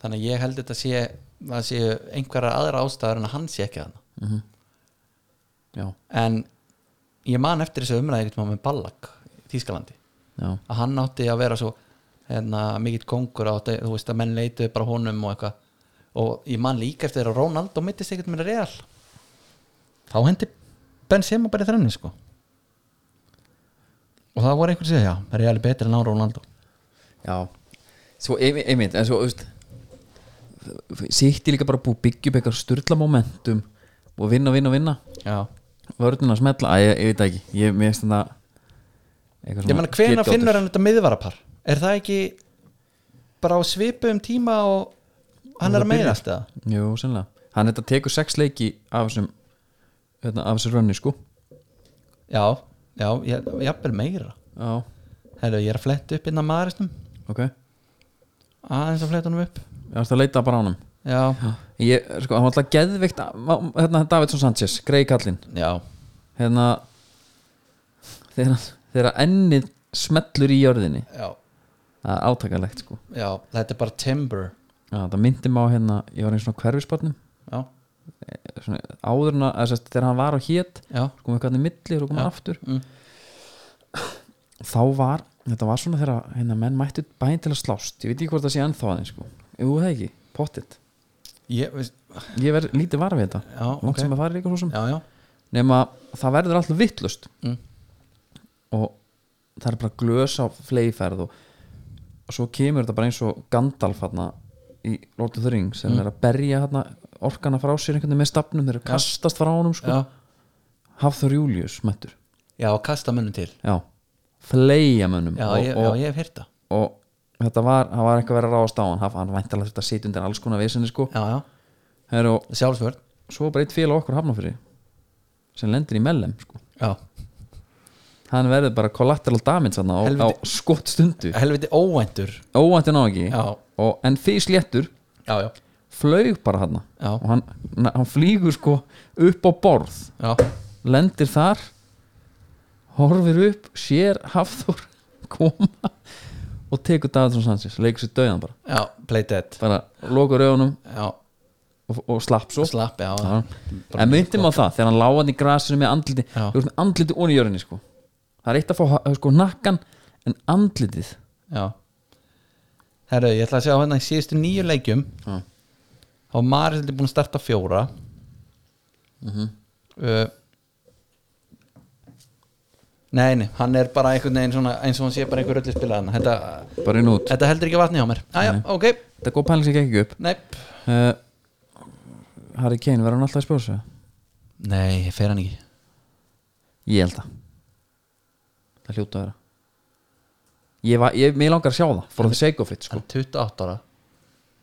S2: þannig að ég held þetta sé það sé einhverjar aðra ástæður en að hann sé ekki þannig
S1: Mhm. já,
S2: en ég man eftir þessu umræði einhvern tímann með Ballag í Þýskalandi
S1: já,
S2: að hann átti að vera svo hérna, mikill kongur átti, þú veist að menn leituðu bara honum og eitthvað og ég man líka eftir að Ronaldo mittist einhvern með real þá hendi Benzema bara í þrenni sko og það voru einhver sem segja, já, real er betur en á Ronaldo
S1: já svo einmi- einmitt, en svo þú veist, sýtti líka bara búið að byggja upp eitthvað styrla momentum og vinna, vinna, vinna
S2: já,
S1: vörðin að smetla, að ég, ég veit það ekki ég mér finnst þetta eitthvað
S2: ég menna hvena
S1: getgátur.
S2: finnur hann þetta miðvarapar er það ekki bara á svipu um tíma og hann er að meina alltaf
S1: jú, sennilega, hann þetta tekur sex leiki af þessum hérna, af þessum rönni sko
S2: já, já, ég- jafnvel meira
S1: já,
S2: Heru, ég er að fletta upp innan maðuristum
S1: ok,
S2: aðeins að fletta honum upp
S1: ég varst að leita bara á hann
S2: já,
S1: ég, sko, hann var alltaf geðveikt hérna, Davidsson Sanchez, grei kallinn
S2: já,
S1: hérna þegar, þegar ennið smellur í jörðinni
S2: já,
S1: það er átakalegt sko
S2: já þetta er bara timber
S1: já, það myndi mig á hérna, ég var einn svona hverfisbarnum
S2: já,
S1: svona áður en að, eða sem sagt, þegar hann var og hét
S2: já,
S1: sko með hvernig milli og komið aftur
S2: mm.
S1: þá var, þetta var svona þegar hérna, menn mættu bæinn til að slást ég veit ekki hvort það sé ennþá aðeins sko jú það ekki, pottitt,
S2: ég veist
S1: ég verð lítið var við þetta
S2: já,
S1: langt
S2: ok,
S1: sem að fara í líka húsum
S2: já, já,
S1: nema það verður alltaf vittlust
S2: Mm.
S1: og það er bara glös á fleiferð og og svo kemur þetta bara eins og Gandalf hana, í Lord of the Rings
S2: Mm.
S1: sem er að berja hana, orkana frá sér einhvern veginn með stafnum, þeir eru að kastast frá honum sko.
S2: já,
S1: Hafþór Július mættur
S2: já, og kasta mönnum til
S1: já, fleia mönnum
S2: já,
S1: og,
S2: ég,
S1: og,
S2: já, ég hef heyrt það
S1: og þetta var, það var eitthvað verið að ráðast á hann hann, hann væntalega þetta sitja undir alls konar vesinni sko.
S2: já, já,
S1: Heru, og
S2: sjálfsvörð
S1: svo bara eitt félag okkur hafna fyrir sem lendir í mellem sko.
S2: já,
S1: hann verður bara collateral damage hana, á, á
S2: Helviti.
S1: skott stundu
S2: helviti óvæntur
S1: óvænt en á ekki
S2: já,
S1: og, en fyrst léttur
S2: já, já,
S1: flaug bara hann
S2: já,
S1: og hann, na- hann flýgur sko upp á borð
S2: já,
S1: lendir þar horfir upp, sér Hafþór koma og tekur Davidsson Sanchez, leikur sér döðan bara
S2: já play dead
S1: bara lokur augunum
S2: já,
S1: og, og slapp svo
S2: slapp, já, já.
S1: Já. en myndum á það, þegar hann láði hann í grasinu með andliti,
S2: Já.
S1: þú veist með andliti onni í jörðinni sko. það er eitt að fá ha- sko, nakkan en andlitið
S2: já herru, ég ætla að sjá hérna í síðustu nýju leikjum
S1: Mm. Já.
S2: þá var Maris búin að starta fjóra
S1: Mhm.
S2: uh, nei, nei, hann er bara einhvern veginn svona, eins og hann sé bara einhver öllu spilað hann þetta,
S1: bara inn og út,
S2: þetta heldur ekki vatni á mér aðja,
S1: Nei.
S2: ok,
S1: þetta er góð pæling sem gekk ekki upp
S2: nei
S1: uh, Harry Kane verður hann alltaf að spjóra sig
S2: nei, fer hann ekki
S1: Ég held það Það hljóta að vera Ég, var, ég mig langar að sjá það For the sake of it sko
S2: hann er 28 ára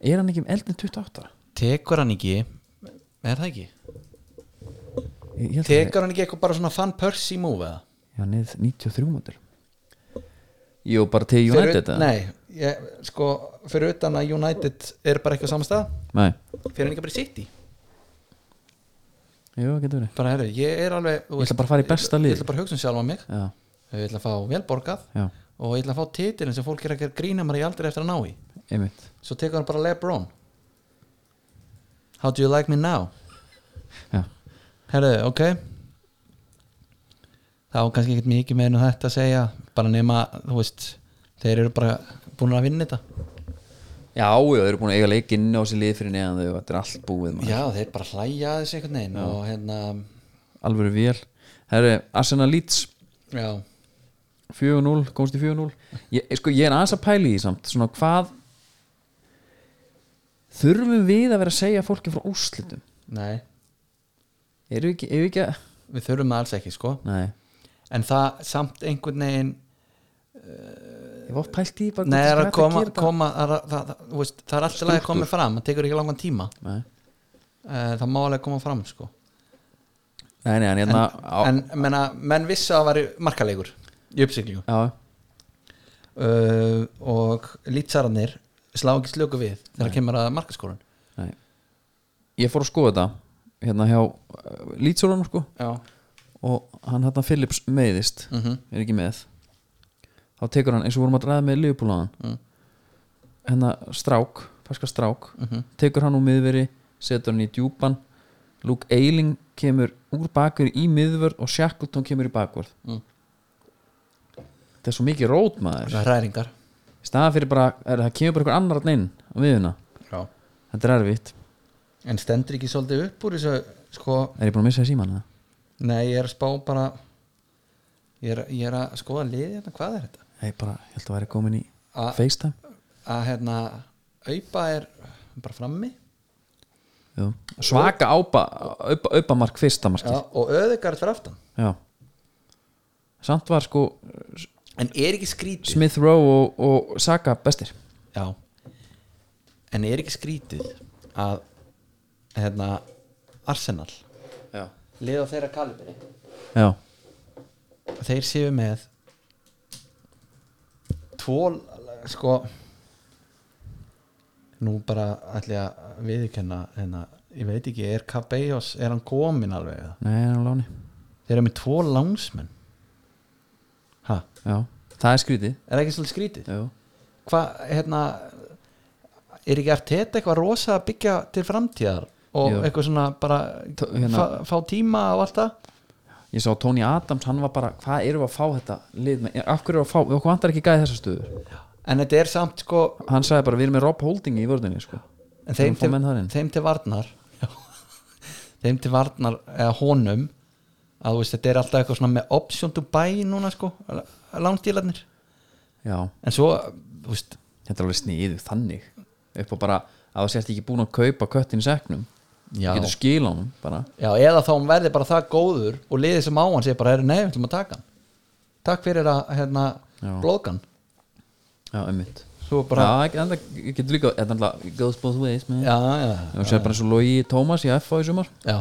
S1: Er hann ekki um eldin 28?
S2: tekur hann ekki er það ekki?
S1: Ég, ég held það
S2: tekur hann ekki eitthvað bara svona fan Percy move eða?
S1: Já, niður 93 mútur Jú, bara til United
S2: Fyrir-
S1: eða?
S2: nei, ég, sko, fyrir utan að United er bara ekki á sama stað
S1: Nei
S2: fyrir hann ekki bara í City
S1: Jú, getur verið
S2: bara herru, ég er alveg þú
S1: Ég
S2: veist,
S1: ætla bara að fara í besta lið.
S2: ég ætla bara að hugsa um sjálf á mig
S1: Já,
S2: ég ætla að fá velborgað
S1: já,
S2: og ég ætla að fá titilin sem fólk er ekki að grína maður í aldrei eftir að ná í
S1: einmitt
S2: svo tekur hann bara Lebron How do you like me now?
S1: Já,
S2: herru, ok þá er kannski ekkert mikið meðinu þetta að segja bara nema, þú veist þeir eru bara búin að vinna þetta
S1: já, já, þau eru búin að eiga leik inn á sér lið fyrir neðan þau Þetta er allt búið maður
S2: já, þeir bara hlæja að þessu einhvern veginn og hérna,
S1: Alvöru vél Herri, Arsenal Leeds
S2: já
S1: 4-0, komst í 4-0 ég, sko, ég er aðeins að pæla í því samt svona hvað þurfum við að vera að segja fólki frá úrslitum
S2: nei,
S1: eru við ekki, eru við ekki að
S2: við þurfum það alls ekki sko
S1: nei,
S2: en það samt einhvern veginn
S1: ég var oft pælt í því bara
S2: Nei, það er að
S1: hvernig
S2: koma,
S1: gera þetta.
S2: koma það, er að- það, það, þú veist, það er alltaf að koma fram það tekur ekki langan tíma
S1: nei,
S2: Eh, það má alveg koma fram sko.
S1: nei, nei, en hérna á,
S2: en menna, menn vissu að það væri markalegur í uppsiklingu
S1: já,
S2: uh, og lýtsararnir slá ekki slöku við þegar kemur að markaskórun
S1: nei ég fór að skoða þetta hérna hjá uh, Lítsólanum sko
S2: já,
S1: og hann hérna Phillips meiðist
S2: Mhm.
S1: er ekki með þá tekur hann eins og vorum að ræða með liðbúlaðan
S2: Mm.
S1: hérna strák, ferska strák
S2: mhm.
S1: tekur hann úr miðveri, setur hann í djúpan Luke Eiling kemur úr bakveri í miðvörð og Shackleton kemur í bakvörð
S2: Mm.
S1: þetta er svo mikið rót maður
S2: ræringar
S1: í staða fyrir bara, er, það kemur bara einhver annar að neinn á miðuna,
S2: já.
S1: þetta er erfitt
S2: en stendur ekki svolítið upp úr þessu sko,
S1: er ég búin að missa þessi manna?
S2: nei, ég er að spá bara ég er, ég er að skoða liðið hérna, hvað er þetta?
S1: ég bara, ég held að væri komin í
S2: A-
S1: FaceTime
S2: að hérna, aupa er bara frammi
S1: Jú. svaka ápa, aupa, aupa mark fyrsta markið
S2: já, og öðugard fyrir aftan
S1: Já Samt var sko
S2: En er ekki skrítið
S1: Smith Rowe og, og Saka bestir
S2: Já En er ekki skrítið að hérna Arsenal
S1: Já,
S2: liða þeirra kalibri
S1: Já.
S2: Þeir séu með tvo sko nú bara ætli að viðurkenna hérna, ég veit ekki, er Cabellos er hann komin alveg eða?
S1: Nei, hann er á láni
S2: Þeir eru með tvo langsmenn Ha,
S1: Já, það er skrítið
S2: er ekki svolítið skrítið?
S1: Já,
S2: hvað, hérna er ekki eftir þetta eitthvað rosa að byggja til framtíðar og
S1: Jú.
S2: eitthvað svona bara
S1: T- hérna-
S2: fá, fá tíma og allt það
S1: Ég sá Tony Adams, hann var bara Hvað erum við að fá þetta lið með Af hverju erum við að fá, við okkur vantar ekki gæði þessar stöður
S2: en þetta er samt sko
S1: Hann sagði bara, við erum með Rob Holding í vörðinni sko.
S2: en
S1: Þeim
S2: þeim,
S1: fá
S2: til,
S1: menn þar inn.
S2: þeim til varnar þeim til varnar eða honum að þú veist þetta er alltaf eitthvað svona með option to buy núna sko langstílarnir
S1: Já,
S2: en svo, þú veist
S1: þetta er alveg sniðu þannig upp á bara að það sért ekki búin að kaupa köttin í seknum
S2: Já.
S1: getur skil á hann bara
S2: Já, eða þá hún verði bara það góður og liðið sem á hann sé bara, "Heyrðu, nei, við ætlum að taka hann Takk fyrir að, hérna,
S1: Já.
S2: blóðgan
S1: já, einmitt
S2: Svo bara,
S1: já, ekki- en það getur líka þetta er alltaf goes both ways man.
S2: já, já,
S1: Ef þú sér bara eins og Logi Tómas í FH í sumar
S2: já.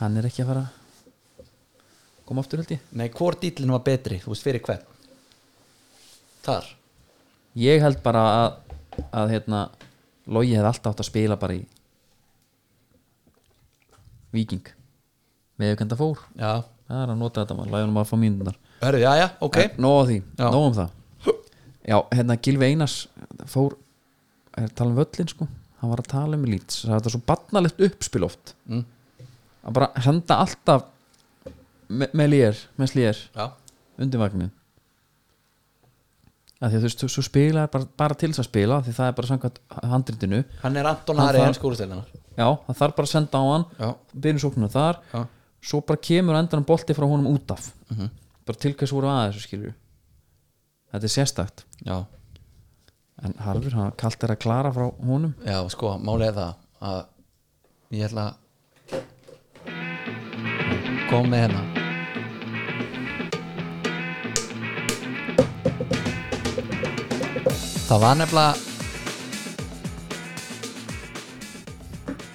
S1: hann er ekki að fara að koma aftur held ég
S2: Nei, hvort dýtlinn var betri, þú veist, fyrir hvern Þar
S1: ég held bara að, að hérna, Logi hefði alltaf átt að spila bara í Víking við hefum kenda fór
S2: Já,
S1: það er að nota þetta maður, lægjum að fá mínunar
S2: hörðu, já, já, ok
S1: nóg á því,
S2: Já.
S1: nóg um það já, hérna Gilvi Einars fór, er að tala um völlin sko hann var að tala um lít það er þetta svo barnalegt uppspil oft
S2: Mm.
S1: að bara henda alltaf me með lýjar, með slýjar
S2: Já,
S1: undir vagnin að því að þú veist, þú- svo spila er bara, bara til þess að spila, því það er bara samkvæmt handritinu,
S2: hann er Anton
S1: Hann
S2: Ari
S1: þarf-
S2: en skúrstælunar
S1: já, það þarf bara að senda á hann
S2: Já,
S1: byrjum sóknum þar
S2: já,
S1: svo bara kemur endan bolti frá honum út af bara til hvers voru að þessu skilur þetta er sérstakt
S2: já,
S1: en Harfur, hann kallt er að klara frá honum
S2: já, sko, málið er það að ég ætla að koma með hérna Það var nefnilega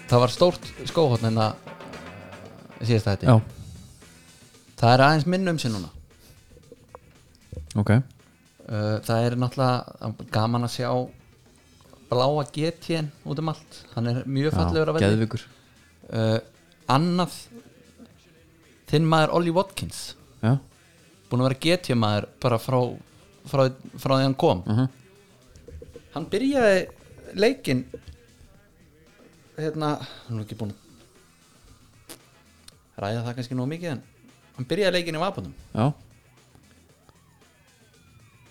S2: Það var stórt hérna, eh, skóhotn en það síðast þetta
S1: já,
S2: Það er aðeins minn um sér núna
S1: ok
S2: Uh, það er náttúrulega gaman að sjá bláa GTN út um allt hann er mjög fallegur að velja
S1: geðvikur
S2: uh, annað þinn maður Ollie Watkins
S1: já,
S2: búin að vera GT maður bara frá, frá, frá því hann kom
S1: Mhm.
S2: hann byrjaði leikin hérna hann er nú ekki búin að ræða það kannski nóg mikið en hann byrjaði leikin í vapunum
S1: já,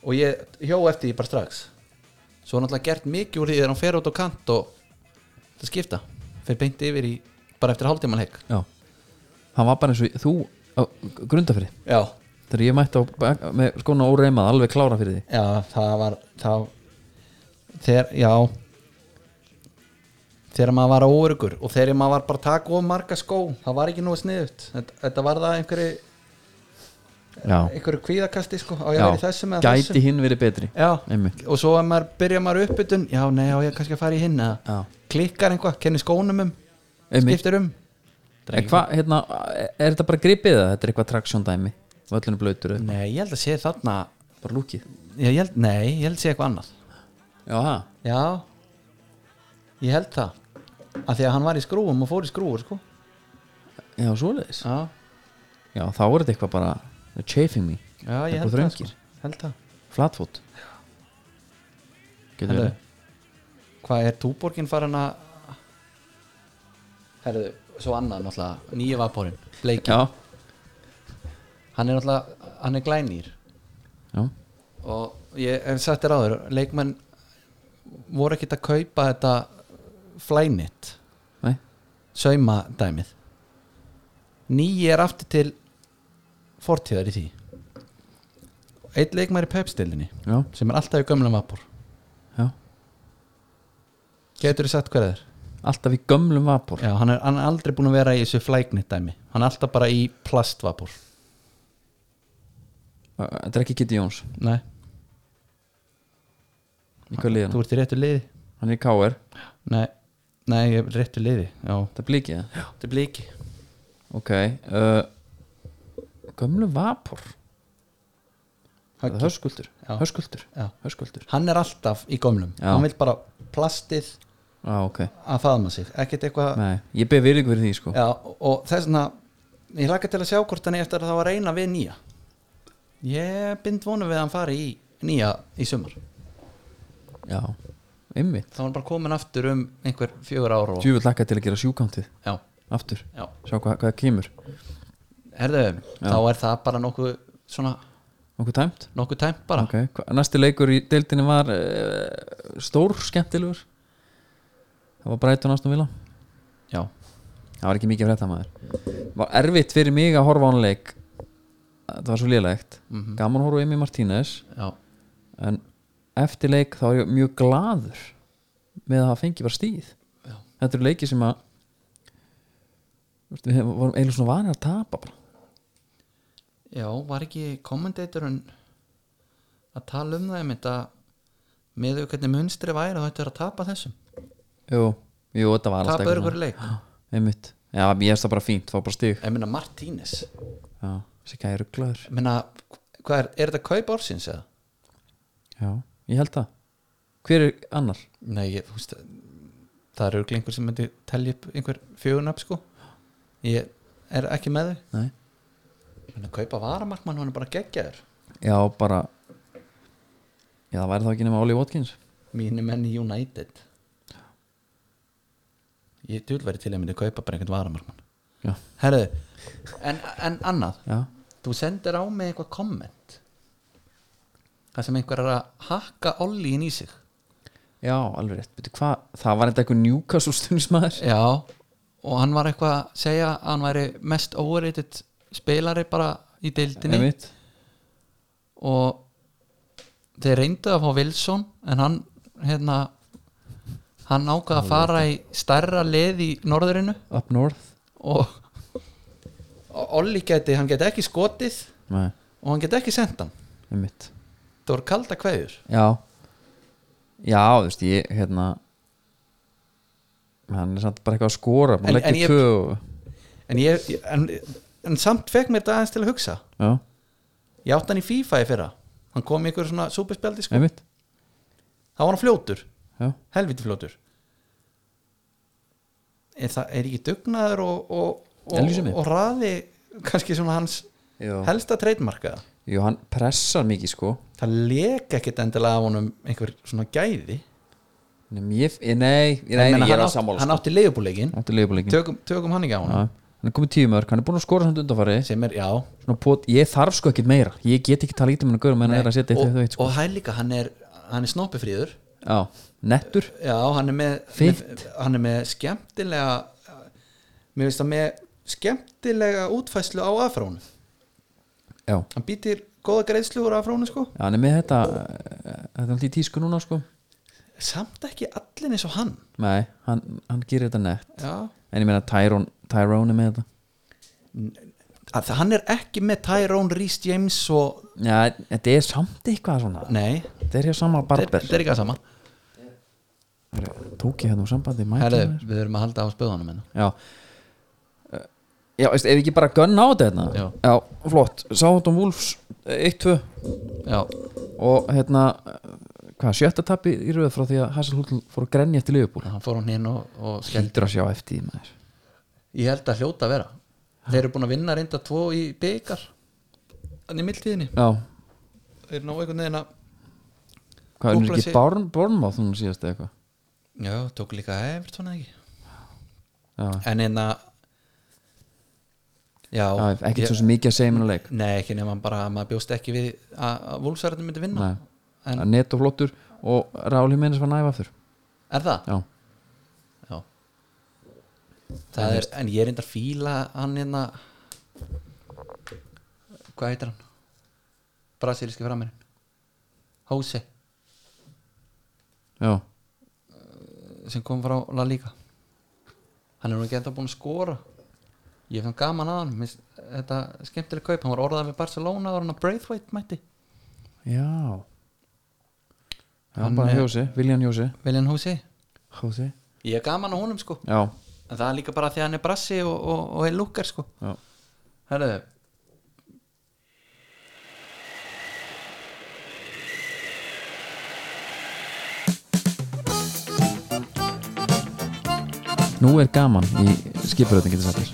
S2: og ég hjó eftir því bara strax svo er náttúrulega gert mikið úr því þegar hann fer út á kant og það skipta fer beint yfir í bara eftir hálftíman leik
S1: já hann var bara eins og þú á grundafyrði
S2: já,
S1: þegar ég mætti á bak, með skóna óreimað alveg klára fyrir því
S2: já, það var það, þegar, já þegar maður var óörgur og þegar maður var bara að taka of marga skó það var ekki nú sniðut þetta, þetta var það einhverju,
S1: já,
S2: einhverju kvíðakasti sko, á ég að vera í þessum eða
S1: gæti
S2: þessum
S1: hinn verið betri
S2: já,
S1: einmitt
S2: og svo að maður byrja maður uppbytun já, nei, já, ég kannski að fara í hinn eða
S1: já,
S2: klikkar einhvað, kennir skónum um
S1: einmitt
S2: skiptir um
S1: er, hva, hérna, er, er þetta bara gripið eða þetta er eitthvað traksjón dæmi völlinu blöytur eða
S2: Nei, ég held að sé þarna
S1: bara lúkið
S2: ég held, Nei, ég held að sé eitthvað annað
S1: já, ha.
S2: Já Ég held það að Því að hann var í skrúum og fór í skrúur sko.
S1: já svoleiðis
S2: Já,
S1: já, þá er þetta eitthvað bara they're chafing me,
S2: já
S1: Upp á
S2: ég held það,
S1: þröngir.
S2: sko. held það
S1: flatfoot getur
S2: Herðu,
S1: verið
S2: Hvað er túborgin farin að Herðu, svo annað náttúrulega Nýja vaporinn, Bleiki
S1: já,
S2: Hann er náttúrulega, hann er glænýr
S1: já,
S2: og ég hef sagt þér áður leikmenn voru ekkert að kaupa þetta flænit
S1: nei
S2: sauma dæmið nýji er aftur til fortíðar í því eitt leikmæri pepstilinni
S1: já,
S2: sem er alltaf í gömlum vapor
S1: já,
S2: getur þið sagt hver það er?
S1: alltaf í gömlum vapor
S2: Já, hann er, hann er aldrei búin að vera í þessu flæknit dæmi hann er alltaf bara í plastvapor
S1: þetta er ekki Kitty Jones
S2: nei,
S1: í hvað liðan,
S2: þú ert í réttu liði
S1: hann er í KR
S2: nei, nei, ég er í réttu liði já,
S1: þetta er blikið það?
S2: þetta er blíki
S1: ok uh, gömlum vapor það er höskuldur
S2: Já.
S1: höskuldur,
S2: Já.
S1: höskuldur
S2: hann er alltaf í gömlum
S1: Já.
S2: hann vil bara plastið
S1: já, Ah, ok,
S2: að faðma sig ekkert eitthvað
S1: nei, ég beð virðingu fyrir því sko
S2: já, og þess vegna ég hlakka til að sjá hvort hann er eftir að það var reyna við nýja ég bind vonum við að hann fari í nýja í sumar þá
S1: já, einmitt
S2: er hann bara komin aftur um einhver fjögur ára og...
S1: djúvill lakka til að gera sjúkántið
S2: já,
S1: aftur,
S2: já,
S1: sjá hvað, hvað kemur
S2: herðu þá er það bara nokkuð svona
S1: okkur tæmt
S2: nokkuð tæmt bara
S1: okay. hva- næsti leikur í deildinni var uh, stór skemmtilegur það var Breitun Aston Villa
S2: já,
S1: það var ekki mikið frétta maður var erfitt fyrir mig að horfa á hann leik
S2: Mhm.
S1: það var svo lélegt gaman að horfa á Emi Martínez
S2: já,
S1: en eftir leik þá er ég mjög gladur með að það fengi bara stíð
S2: Já.
S1: þetta eru leiki sem að þú veist, við vorum eiginlega svona vanir að tapa bara.
S2: Já, var ekki kommentatorun að tala um það einmitt að með þau hvernig munstri væri þá ættu þeir að tapa þessum
S1: jú, jú, þetta var
S2: tapa
S1: eitthvað
S2: örugur
S1: svona.
S2: leik
S1: einmitt, já, ég er það bara fínt, fá bara stíð
S2: ég meina Martínez ég
S1: já, þessi gæði rugglaður
S2: meina, hvað er, er þetta kaup ársins eða?
S1: já, ég held það hver er annar?
S2: Nei, ég, þú veist það er örugur einhver sem myndi telja upp einhver fjögunab sko ég er ekki með þau
S1: Nei.
S2: Ég meina, kaupa varamarkmann, hann er bara geggjaður
S1: já, bara já, það væri þá ekki nema Oli Watkins
S2: mínu menn í United ég djúl verið til að myndi kaupa bara einhvern varamarkmann
S1: já,
S2: herðu, en, en annað
S1: já,
S2: þú sendir á mig eitthvað komment það sem einhver er að hakka ollín í sig
S1: já alveg rétt Byrju, hva? það var þetta eitthvað Newcastle stunismæður
S2: já, og hann var eitthvað að segja að hann væri mest overrated spilari bara í deildinni
S1: einmitt
S2: og þeir reyndu að fá Wilson en hann hérna hann ákvað að fara í stærra lið í norðurinu
S1: up north
S2: og og Olli geti, hann geti ekki skotið
S1: Nei,
S2: og hann geti ekki sendt hann
S1: einmitt
S2: það voru kalda kveður
S1: Já Já, þú veist, ég, hérna Hann er samt bara eitthvað að skora
S2: En-
S1: Búin að
S2: en
S1: leggja
S2: ég-
S1: tvö og,
S2: en, ég, en, en samt fekk mér þetta aðeins til að hugsa
S1: Já,
S2: ég átti hann í FIFA í fyrra hann kom í einhver svona súperspjaldi sko.
S1: einmitt
S2: þá var hann fljótur,
S1: Já,
S2: helviti fljótur er, það, er ekki dugnaður og, og, og,
S1: Elusemi.
S2: og raði kannski svona hans
S1: Jú.
S2: helsta treytmarka
S1: Jú, hann pressar mikið, sko
S2: það leka ekkit endilega af honum einhver svona gæði
S1: Nei, ég, ég- nei, ég, nei,
S2: Ég
S1: nei,
S2: meina,
S1: ég er
S2: hann,
S1: að sammála
S2: hann
S1: sko.
S2: átti leifubúleikin
S1: Átti leifbúleikin
S2: tökum, tökum hann ekki á honum
S1: Hann er komið tíu mörg, hann er búin að skora samt undanfari
S2: sem er, já,
S1: Svona pot, ég þarf sko ekkit meira Ég get ekki talað ítum hann að gaurum en hann er að setja eitt
S2: og,
S1: eitt og eitt, sko
S2: og hann líka hann er, hann er snoppifríður
S1: Já, nettur
S2: já, hann er með,
S1: Fínt.
S2: með hann er með skemmtilega mér finnst það með skemmtilega útfæslu á afrónu
S1: Já,
S2: hann býtir góða greiðslu úr afrónu sko
S1: Já, hann er með þetta eh, Þetta er alltaf í tísku núna, sko
S2: samt ekki allir eins og hann
S1: Nei, hann, hann gerir þetta nett
S2: já,
S1: En ég meina Tyrone, Tyrone er með þetta
S2: að það- hann er ekki með Tyrone Reese James og,
S1: Já, þetta er samt eitthvað svona
S2: nei,
S1: Þetta er hjá sama
S2: þetta
S1: barber
S2: er- þetta er ekki að sama
S1: Herru, Tók ég hérna úr sambandi mæti
S2: Herri,
S1: mér.
S2: við erum að halda á spöðunum hérna. hennar
S1: Já Eh, Já, veist, ef ekki bara gönn á þetta hérna
S2: Já.
S1: flott Sáðum Wolfs, 1-2
S2: já,
S1: Og hérna, eh, hvað, sjötta tappi í röð frá því að Hasselhúll fór að grenja eftir liðbúl
S2: hann fór hún hinn og, og skell
S1: Heldur að sjá eftir því maður
S2: ég held að hljóta að vera þeir eru búin að vinna reynda tvo í byggar þannig mildtíðinni
S1: Já,
S2: þeir ná einhvern veginn að
S1: hvað er
S2: Úlfar sé-
S1: ekki Born, Bornmáð hún síðast eða eitthvað
S2: já, tók líka Everton eða ekki
S1: Já,
S2: en einna já,
S1: já ekkert svo sem mikið að segja minna leik
S2: nei, ekki nema bara að maður bjóst ekki við að, að vúlsverðin myndi vinna
S1: Nei,
S2: en
S1: Neto flottur og Ráli minnis var næfa aftur
S2: er það?
S1: Já,
S2: já það er, en ég er einnig að fíla hann einna hvað heitir hann? brasilíski framherinn Hósi
S1: já,
S2: sem kom frá La Liga hann er nú ekki enda búin að skora ég fann gaman að hann mér finnst þetta skemmtileg kaup, hann var orðað við Barcelona og hann að Braithwaite mætti
S1: já. Já,
S2: Hann
S1: bara
S2: er-
S1: Hjósi, Viljan Hjósi
S2: Viljan Hósi
S1: Hjósi
S2: ég er gaman á honum sko,
S1: Já,
S2: en það er líka bara því að hann er brassi og, og, og er lukkar sko
S1: já,
S2: herruðu
S1: nú er gaman í skipuröðin getur sagt þér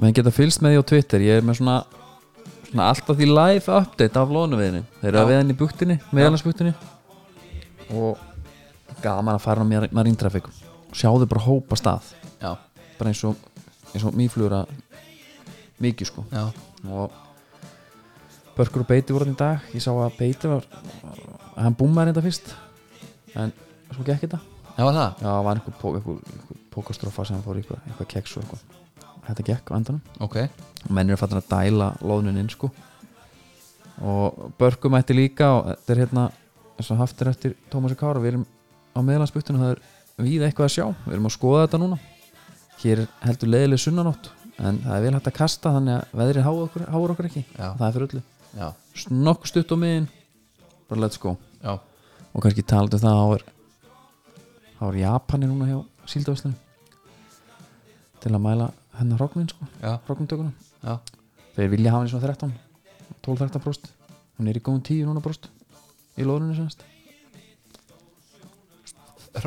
S1: Menn geta fylgst með því á Twitter Ég er með svona, svona alltaf því live update af lónuviðinni Þeir eru
S2: Já.
S1: að veðinni í buktinni, meðalansbuktinni Og gaman að fara á mér- Marine Traffic og Sjáðu bara hópa stað
S2: já,
S1: Bara eins og, eins og mýflugur að mikið sko
S2: já,
S1: og Börkur og Beiti voru þarna í dag ég sá að Beiti var hann búmaði reynda fyrst en svo gekk þetta
S2: það var það
S1: já, það var einhver, pó, einhver, einhver pókastrófa sem hann fór í eitthvað, eitthvað keks og eitthvað þetta gekk á endanum
S2: ok,
S1: og menn eru fattin að dæla loðnin inn sko og Börku mætti líka og þetta er hérna þess að haft er eftir Tómasi Kára við erum á meðlandsbyttunum, það er víða eitthvað að sjá við erum að skoða þetta núna hér er heldur leiðileg sunnanótt en það er vel hægt að kasta þannig að veðrið háur okkur, háur okkur ekki
S2: Já.
S1: það er fyrir öllu
S2: já,
S1: snokk stutt á miðin bara let's go
S2: já,
S1: og kannski talandi um það þá er þá er Japani núna hjá síldavæslinu til að mæla hennar hróknin sko,
S2: já,
S1: hróknintökunum
S2: já,
S1: þeir vilja hafa henni svona 13 12-13 próst, hún er í góðum 10 núna próst í lóðrunni semst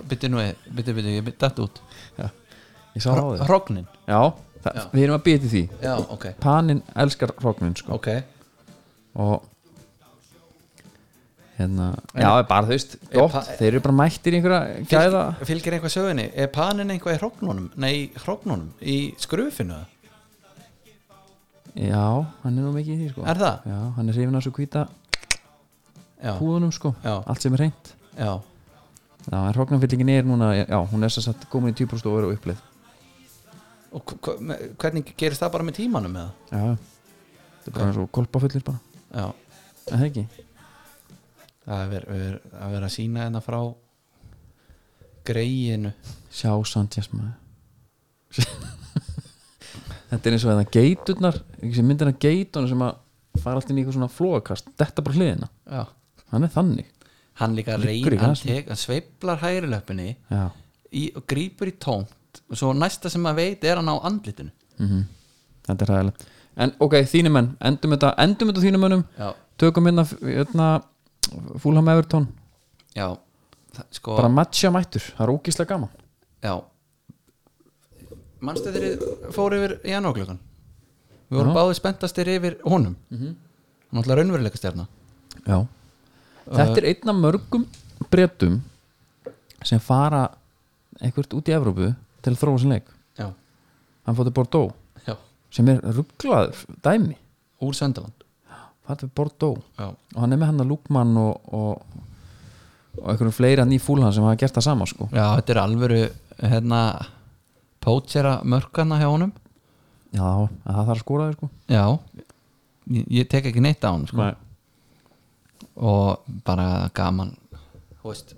S2: bytti nú eða, bytti, bytti, ég bytti þetta út
S1: ég sá það á þér
S2: Hrognin,
S1: já, það,
S2: Já.
S1: við erum að býti því
S2: já, ok
S1: panin elskar hróknin sko
S2: ok,
S1: og hérna, já, það er bara þú veist gott,
S2: pa-
S1: þeir eru bara mættir í einhverja gæða
S2: Fylg, fylgir eitthvað sögunni er panin eitthvað í hrognunum, nei, hrognunum í skrufinu,
S1: já, hann er nú mikið í því sko
S2: er það?
S1: já, hann er hrifin að svo hvíta
S2: já,
S1: húðunum sko,
S2: Já.
S1: allt sem er reynt
S2: já,
S1: já, en hróknarfyllingin er núna, já, hún er sem sagt komin í 10% og er á upplið
S2: og hv- hv- með- hvernig gerist það bara með tímanum eða?
S1: já, þetta er bara eins og kolpafullir bara,
S2: já,
S1: er það ekki
S2: það er verið ver, að vera að sína hérna frá greiðinu
S1: sjá Sanchez maður þetta er eins og þetta geiturnar ekki sem myndina geiturnar sem að fara allt inn í eitthvað svona flóakast, þetta bara hliðina
S2: já,
S1: hann er þannig
S2: hann líka
S1: Liggur í
S2: reyn, hann,
S1: grasinu.
S2: tek, hann sveiflar hægrilöpunni
S1: já,
S2: í, og grýpur í tómt og svo næsta sem maður veit er hann á andlitinu
S1: mm þetta er ræðilegt en ok, þínum menn, endum þetta endum þetta á þínum mönnum,
S2: já,
S1: tökum hérna, hérna Fulham Everton,
S2: já, það, sko
S1: bara matcha mættur það er ógíslega gaman
S2: já manstu þegar þið fóru yfir janúarklökan við vorum báðið spenntastir yfir honum hann ætla raunveruleika stjarna
S1: já. Uh, þetta er einn af mörgum breytum sem fara einhvert út í Evrópu til að þróa sinni leik
S2: já,
S1: hann fótið Bordeaux
S2: já,
S1: sem er rugglaður dæmi
S2: úr Söndaland
S1: fætt við Bordeaux
S2: já,
S1: og hann er með hann að Lúkmann og, og, og einhverjum fleira ný fúlhan sem hafa gert það sama sko
S2: já, þetta er alvöru hérna pótsera mörkana hjá honum
S1: já, að það þarf að skóra þér sko
S2: já, ég, ég tek ekki neitt á honum sko.
S1: Nei.
S2: og bara gaman Þú veist,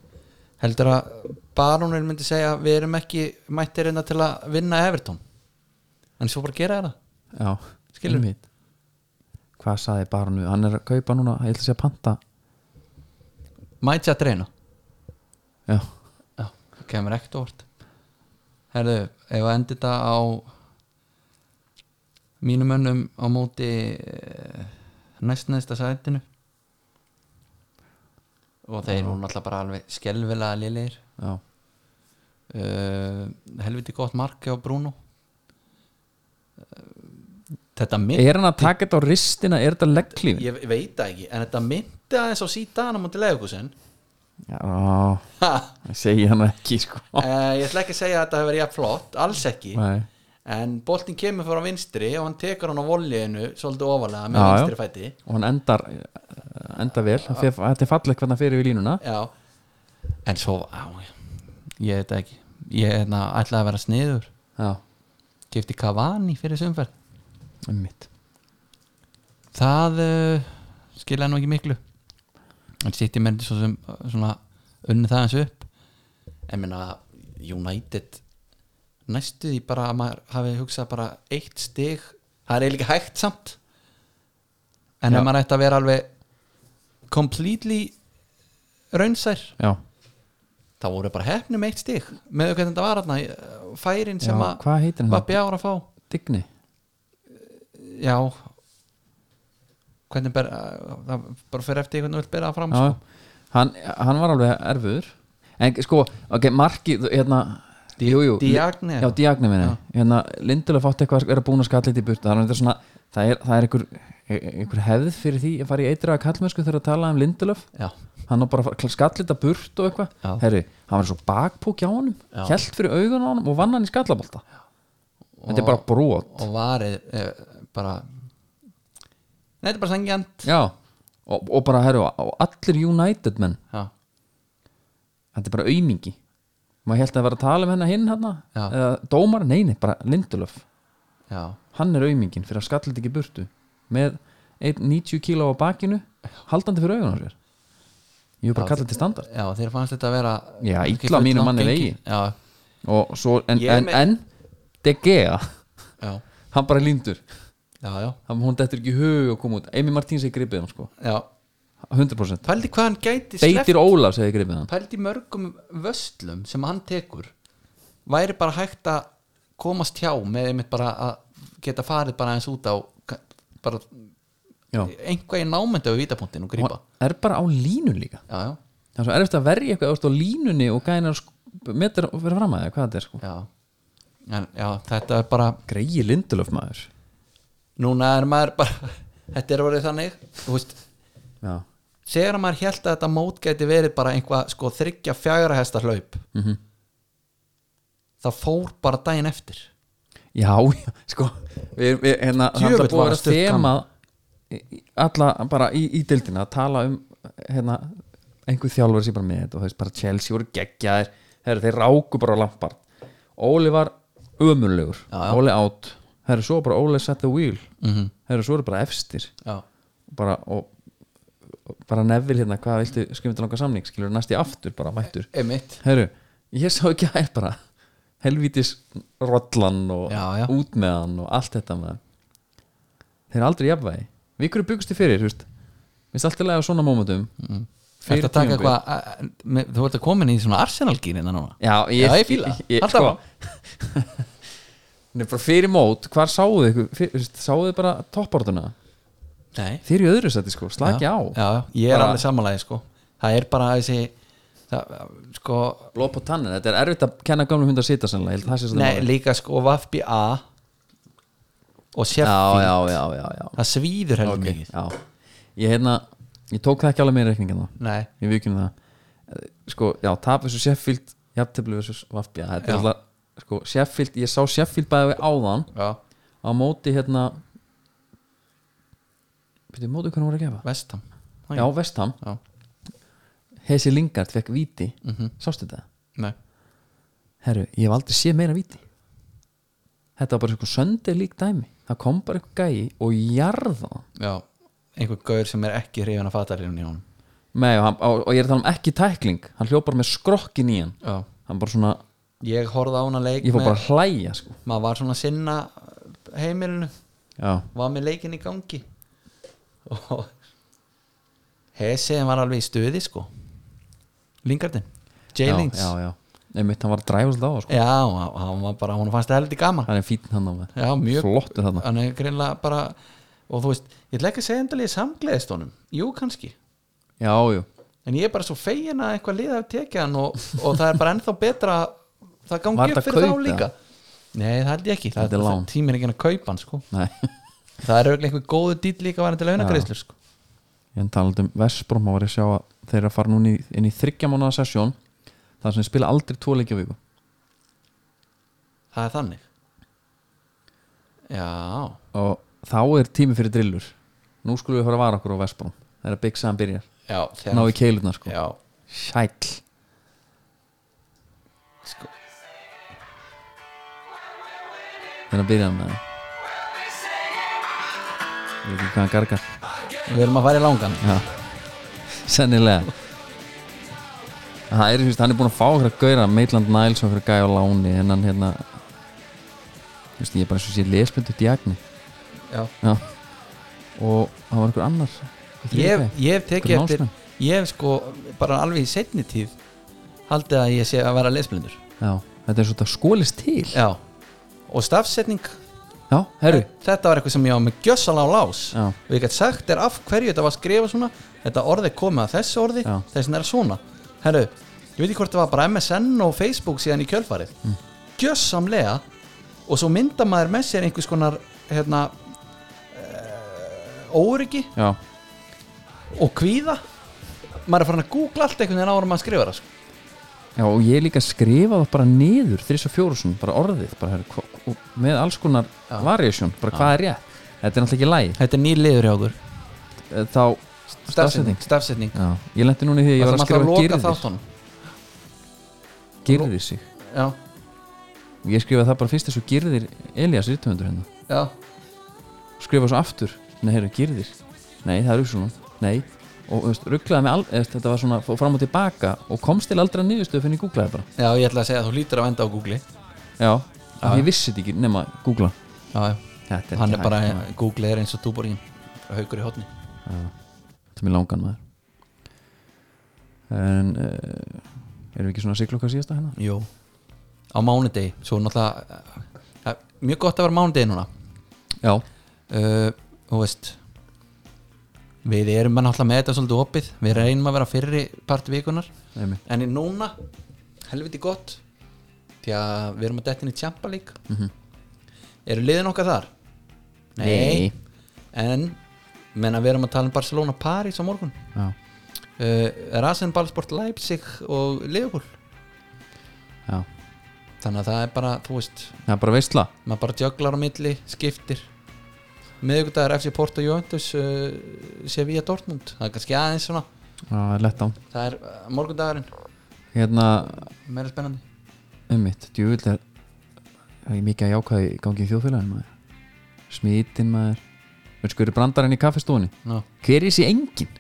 S2: heldur að barónur myndi segja við erum ekki mættir einna til að vinna Everton en svo bara gera þeir það
S1: já,
S2: Skilur.
S1: einmitt. hvað saði bara nú, hann er að kaupa núna ég ætla að segja panta
S2: mætti að dreina
S1: já,
S2: já, það kemur ekkert orð herðu, ef að endi þetta á mínum önnum á móti eh, næst næsta sætinu og þeir voru náttúrulega bara alveg skelvilega lélegir
S1: já,
S2: uh, helviti gott mark á Bruno Eh, þetta mynd
S1: er hann að taka þetta á ristina er þetta leggklífin
S2: ég veit það ekki, en þetta myndi aðeins á síðan á móti leðugusen
S1: já,
S2: ég
S1: ég segi hann ekki sko
S2: Eh, ætla ekki að segja að þetta hefur verið jafn flott alls ekki,
S1: Nei.
S2: en boltin kemur frá vinstri og hann tekur hann á volliðinu svolítið ofalega með
S1: Já, já.
S2: vinstri fæti
S1: og hann endar endar vel, Hann fer- þetta er fallegt hvernig hann fyrir við línuna
S2: já, en svo á, ég veit það ekki ég hérna, ætlaði að vera sniður
S1: já,
S2: kefti Cavani fyrir sumferð
S1: einmitt
S2: það uh, skilja nú ekki miklu en City menn svo sem uh, svona unni það eins upp en minna United næstu því bara að maður hafi hugsað bara eitt stig það er eiginlega ekki hægt samt
S1: Já.
S2: en ef maður ætti að vera alveg completely raunsær
S1: já,
S2: þá voru bara hefni með eitt stig með hvernig þetta var þarna uh, færin sem
S1: já
S2: að
S1: hvað heitir hann?
S2: var bjára að fá
S1: Digni
S2: já hvernig ber, uh, það bara fyrir eftir hvernig þú vilt bera það fram
S1: Já, hann, hann var alveg erfur en sko, ok, marki hérna, jú, jú,
S2: Diagne
S1: já, Diagne minni hérna, Lindulega fátt eitthvað að vera búin að skalla eitthvað í burtu það er, þetta svona, það er, það er einhver, e, einhver hefð fyrir því að fara í eitra að kallmennsku þegar að tala um Lindelöf
S2: já,
S1: hann á bara að fara- skalla þetta burt og
S2: Já.
S1: eitthvað herri, hann var svo bakpók hjá honum
S2: Já.
S1: held fyrir augun á honum og vann hann í skallabolta þetta er bara brot
S2: og varið eh, bara Nei, þetta er bara sangjant
S1: já, og, og bara, herri, og, og allir United menn
S2: já,
S1: þetta er bara aumingi maður held að vera að tala um hennar hinn hann
S2: Já.
S1: eða dómar, nei, nei, bara Lindelöf
S2: já,
S1: hann er aumingin fyrir að skalla þetta ekki í burtu með einn 90 kíló á bakinu haldandi fyrir augun á sér ég er bara
S2: Já,
S1: kallað til standard
S2: já, þeir fannst þetta að vera
S1: Já,
S2: ekki
S1: illa
S2: full
S1: mínum
S2: langt
S1: manni
S2: gengið. já,
S1: og svo, en,
S2: Ég er
S1: en,
S2: með-
S1: en De Gea,
S2: já,
S1: hann bara er lindur
S2: já, já,
S1: hann, hún dettur ekki í hug og koma út Amy Martins hefði gripið hann sko,
S2: já.
S1: 100%
S2: pældi hvað hann gæti sleppt
S1: Beitir Ólafs hefði gripið um. hann
S2: pældi mörgum vöslum sem hann tekur væri bara hægt að komast hjá með einmitt bara að geta farið bara eins út á ka- bara
S1: Já.
S2: einhvað í námöndu við vítapunktin og
S1: og
S2: grípa
S1: hann er bara á línun líka
S2: já, já,
S1: það er svo erfitt að verja eitthvað út á línunni og gæna metur og vera fram að það, hvað þetta er sko
S2: já. En, já, þetta er bara
S1: Greigi Lindulöf maður
S2: núna er maður bara þetta er orðið þannig þú veist,
S1: Já,
S2: segir að maður held að þetta mót gæti verið bara einhvað sko þryggja fjagra hesta hlaup
S1: Mhm.
S2: það fór bara daginn eftir
S1: já, já sko við, við, hérna, það er
S2: Djöfull
S1: alltaf búið
S2: var
S1: að vera
S2: það stutt
S1: þema í- í- alla bara í, í dildina að tala um hérna, einhver þjálfur sem bara með þetta og þess bara Chelsea voru geggjaðir herri, þeir ráku bara á lampart Óli var ömurlegur
S2: Já, já.
S1: Óli átt, herri, svo bara Óli set the wheel
S2: Mhm.
S1: herri, svo eru bara efstir
S2: já,
S1: bara, og, og bara nefnir hérna hvað viltu skrifa til okkar samning skilur næst í aftur bara mættur
S2: einmitt
S1: Herru, ég sá ekki að er bara helvítis rollan og
S2: Já, já.
S1: út með hann og allt þetta með þeir eru aldrei jafnvægi við hverju byggust þið fyrir, þú veist minnst alltaf lega á svona mómentum mm.
S2: Þetta taka eitthvað að- að- með- Þú ert að komin í svona Arsenal-gýrina núna
S1: já, ég,
S2: Já, ég fíla það.
S1: ég,
S2: Haltu
S1: sko,
S2: áfram.
S1: Nei, bara fyrir mót, hvar sáðu þið ykkur- fyrir- þú veist, sáðu þið bara toppborduna
S2: Nei
S1: þeir eru í öðru seti sko, slaki á
S2: Já, ég er
S1: Bara-
S2: alveg samanlega sko Það er bara þessi það, Sko
S1: blóð på tannin, þetta er erfitt að kenna gamlu hund að sita sannlega, ég held að það sé svolítið
S2: Nei,
S1: málið.
S2: líka sko Vafbi A Og
S1: já,
S2: Sheffield
S1: já, já, já, já.
S2: Það svíður heldur
S1: Ok,
S2: mikið
S1: já. Ég, hérna, ég tók það ekki alveg með reikningin þá
S2: Nei,
S1: ég vikinu það Eh, sko, já, tap versus Sheffield jafntefni versus Vafbja þetta er
S2: Já.
S1: alltaf, sko, Sheffield, ég sá Sheffield bæði við áðan
S2: já,
S1: á móti hérna byrju, móti hvernig voru að gefa
S2: vestam
S1: já, Vestham,
S2: já. Mhm.
S1: Hesi Lingard fekk víti, sástu þetta
S2: Nei,
S1: herru, ég hef aldrei séð meira víti þetta var bara eitthvað söndi lík dæmi það kom bara eitthvað gæi og jarða hann.
S2: já Einhver gaur sem er ekki hrifin að fata hrifin í honum
S1: Nei, og, hann, og, og ég er að tala um ekki tækling hann hljópar með skrokkin í hann
S2: Já
S1: hann bara svona,
S2: Ég horfði á hana leik
S1: ég fór
S2: með-
S1: bara að hlæja sko.
S2: Maður var svona að sinna uh, heimilinu
S1: já,
S2: var með leikin í gangi og Hesiðin var alveg í stuði sko Lingardin J-Lings
S1: já,
S2: já,
S1: já, já Einmitt, hann var að dræfa svolítið á það, sko.
S2: hann hann var bara, hún fannst það heldur gaman
S1: hann er fín hann á með
S2: já, mjög,
S1: flottur hann
S2: hann er greinlega bara og þú veist, ég ætla ekki að segja endalegi samgleðist honum, jú kannski
S1: já, jú,
S2: en ég er bara svo fegin að eitthvað liða af tekið hann og, og það er bara ennþá betra að það
S1: Var
S2: gangi
S1: þetta
S2: upp fyrir
S1: kaup,
S2: þá líka nei, það held ég ekki,
S1: Þetta
S2: það,
S1: er
S2: það,
S1: lán.
S2: tímir ekki að kaupa hann sko,
S1: nei
S2: það er auðvitað einhver góðu dýl líka varandi launagreislur sko
S1: ég talaði um Vestbrom, þá var ég að sjá að þeir eru að fara núna í, inn í þryggja mánuða sessjón þar sem þeir spila aldrei tvo leikja á viku
S2: Það er þannig Já,
S1: og þá er tími fyrir drillur nú skulum við fara að vara okkur á Vestbrom það er að Big Sam byrjar,
S2: já,
S1: ná í keilurna sko
S2: já.
S1: sæll,
S2: Sko,
S1: þeir að byrja með það ég veit ekki hvað hann gargar
S2: Við erum að fara í langan
S1: Já, sennilega Það er, þú veist, hann er búin að fá okkur að gauðra Maitland Niles og okkur að gæja á láni en hann hérna þú veist, ég er bara eins og sé lesbundu djagni
S2: já.
S1: Já og það var einhver annar í þriðju
S2: Ég,
S1: grein.
S2: ég hef tekið
S1: Hvernig
S2: eftir
S1: námsmenn?
S2: Ég hef sko bara alveg í setni tíð Haldið að ég sé að vera lesblindur
S1: Já, þetta er svo þetta skólist til
S2: Já Og stafsetning
S1: Já, herru
S2: Þetta var eitthvað sem ég á með gjössala á lás
S1: Já.
S2: Og ég get sagt er af hverju þetta var skrifað svona Þetta orði komið að þessu orði
S1: Já.
S2: Þessin er svona Herru, ég veit ekki hvort það var bara MSN og Facebook síðan í kjölfarið mm. Gjössamlega Og svo mynda maður með sér einhvers konar Hérna uh, Óryggi
S1: Já,
S2: og kvíða Maður er farin að googla allt einhvern veginn árum að skrifa það sko.
S1: Já, og ég líka skrifa það bara niður þrís og fjórusun, bara orðið bara, herru, hva, og með alls konar variation, bara hvað er rétt Þetta er náttúrulega ekki lægi
S2: Þetta er nýr liður hjá okkur
S1: Þá, stafsetning.
S2: Stafsetning
S1: Já, ég lendi núna í því að ég var að skrifa girðir
S2: þáttunum
S1: girðir sig
S2: Já,
S1: og ég skrifaði það bara fyrst þessu girðir Elias rithöfundur hérna
S2: já,
S1: skrifaði svo aftur, nei heyrðu girðir nei, það er hugsunum, nei og þú veist, rugglaði mig al, eða, þetta var svona fór fram og tilbaka og komst til aldrei niðurstöðu fyrir en ég googlaði bara,
S2: Já, ég ætla að segja að þú lítur að venda á Google
S1: já, af því ég vissi þetta ekki nema googla
S2: Já, já
S1: þetta
S2: Hann
S1: ekki
S2: er bara,
S1: hægt, maður.
S2: Google er eins og túborgin Haukur í hotni
S1: sem er langan maður en uh, erum við ekki svona siglokkar síðasta hérna?
S2: Jú Á mánudegi, svo náttúrulega eh, eh, Mjög gott að vera á mánudegi núna
S1: já,
S2: uh, Þú veist Við erum bara náttúrulega með þetta svolítið opið Við reynum að vera fyrri part vikunar
S1: nefnir
S2: En í núna, helviti gott Því að við erum að dettin í Champa lík mm
S1: Mhm.
S2: -hmm. Eru liðin okkar þar?
S1: Nei.
S2: En, menna við erum að tala um Barcelona Paris á morgun
S1: já,
S2: uh, Rasen Ballsport Leipzig og Liverpool
S1: já,
S2: Þannig að það er bara, þú veist
S1: það er bara veistla
S2: Maður bara jöglar á milli, skiptir Miðvikudagur FC Porto Juventus uh, Sevilla Dortmund Það er kannski aðeins svona
S1: já, það er lett á
S2: Það er uh, morgundagurinn,
S1: hérna,
S2: meira spennandi
S1: ummitt, djúvill er það er mikið að jákaði í gangi í þjóðfélagin maður smítin maður veistu hverju brandarinn í kaffestofunni
S2: Ná,
S1: hver er þessi engin? það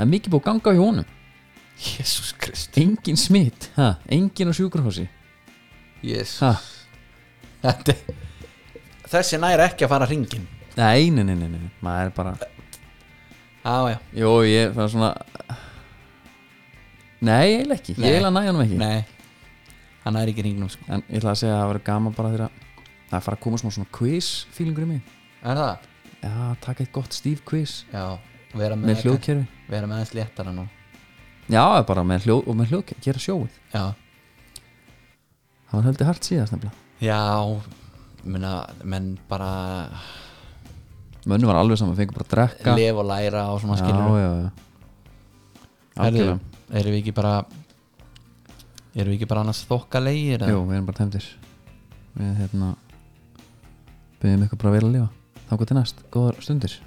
S1: er mikið búið að ganga hjá honum
S2: Jésús Krist
S1: engin smít, ha, engin á sjúkurhósi
S2: Jésús
S1: ha,
S2: Þetta er- Þessi næri ekki að fara ringin
S1: nei, nei, nei, nei, nei maður er bara
S2: Já, já,
S1: Jó, ég fann svona Nei, eiginlega ekki
S2: Nei.
S1: Ég eiginlega næja hann ekki
S2: nei Hann næri ekki ringinum sko
S1: En ég ætla að segja að það verður gaman bara þegar að Það er fara að koma smá svona quiz fílingur í mig
S2: Er það?
S1: Já, taka eitt gott stíf quiz
S2: Já, vera með,
S1: Með hljóðkerfi
S2: Vera með aðeins léttara nú
S1: Já, bara með hljóð og með hljóðkerfi Gera sjóið
S2: Já,
S1: Það var heldur hart síðast nefnilega
S2: já Muna, menn bara
S1: Mönnu var alveg saman, fengur bara að drekka
S2: Lef og læra og svona
S1: Já,
S2: skilur
S1: já, já Algjörlega
S2: Erum við ekki bara Erum við ekki bara annars þokkalegir eða?
S1: Jú, við erum bara tæmdir Við hérna Byggjum ykkur bara vel að lifa Þá til næst, góðar stundir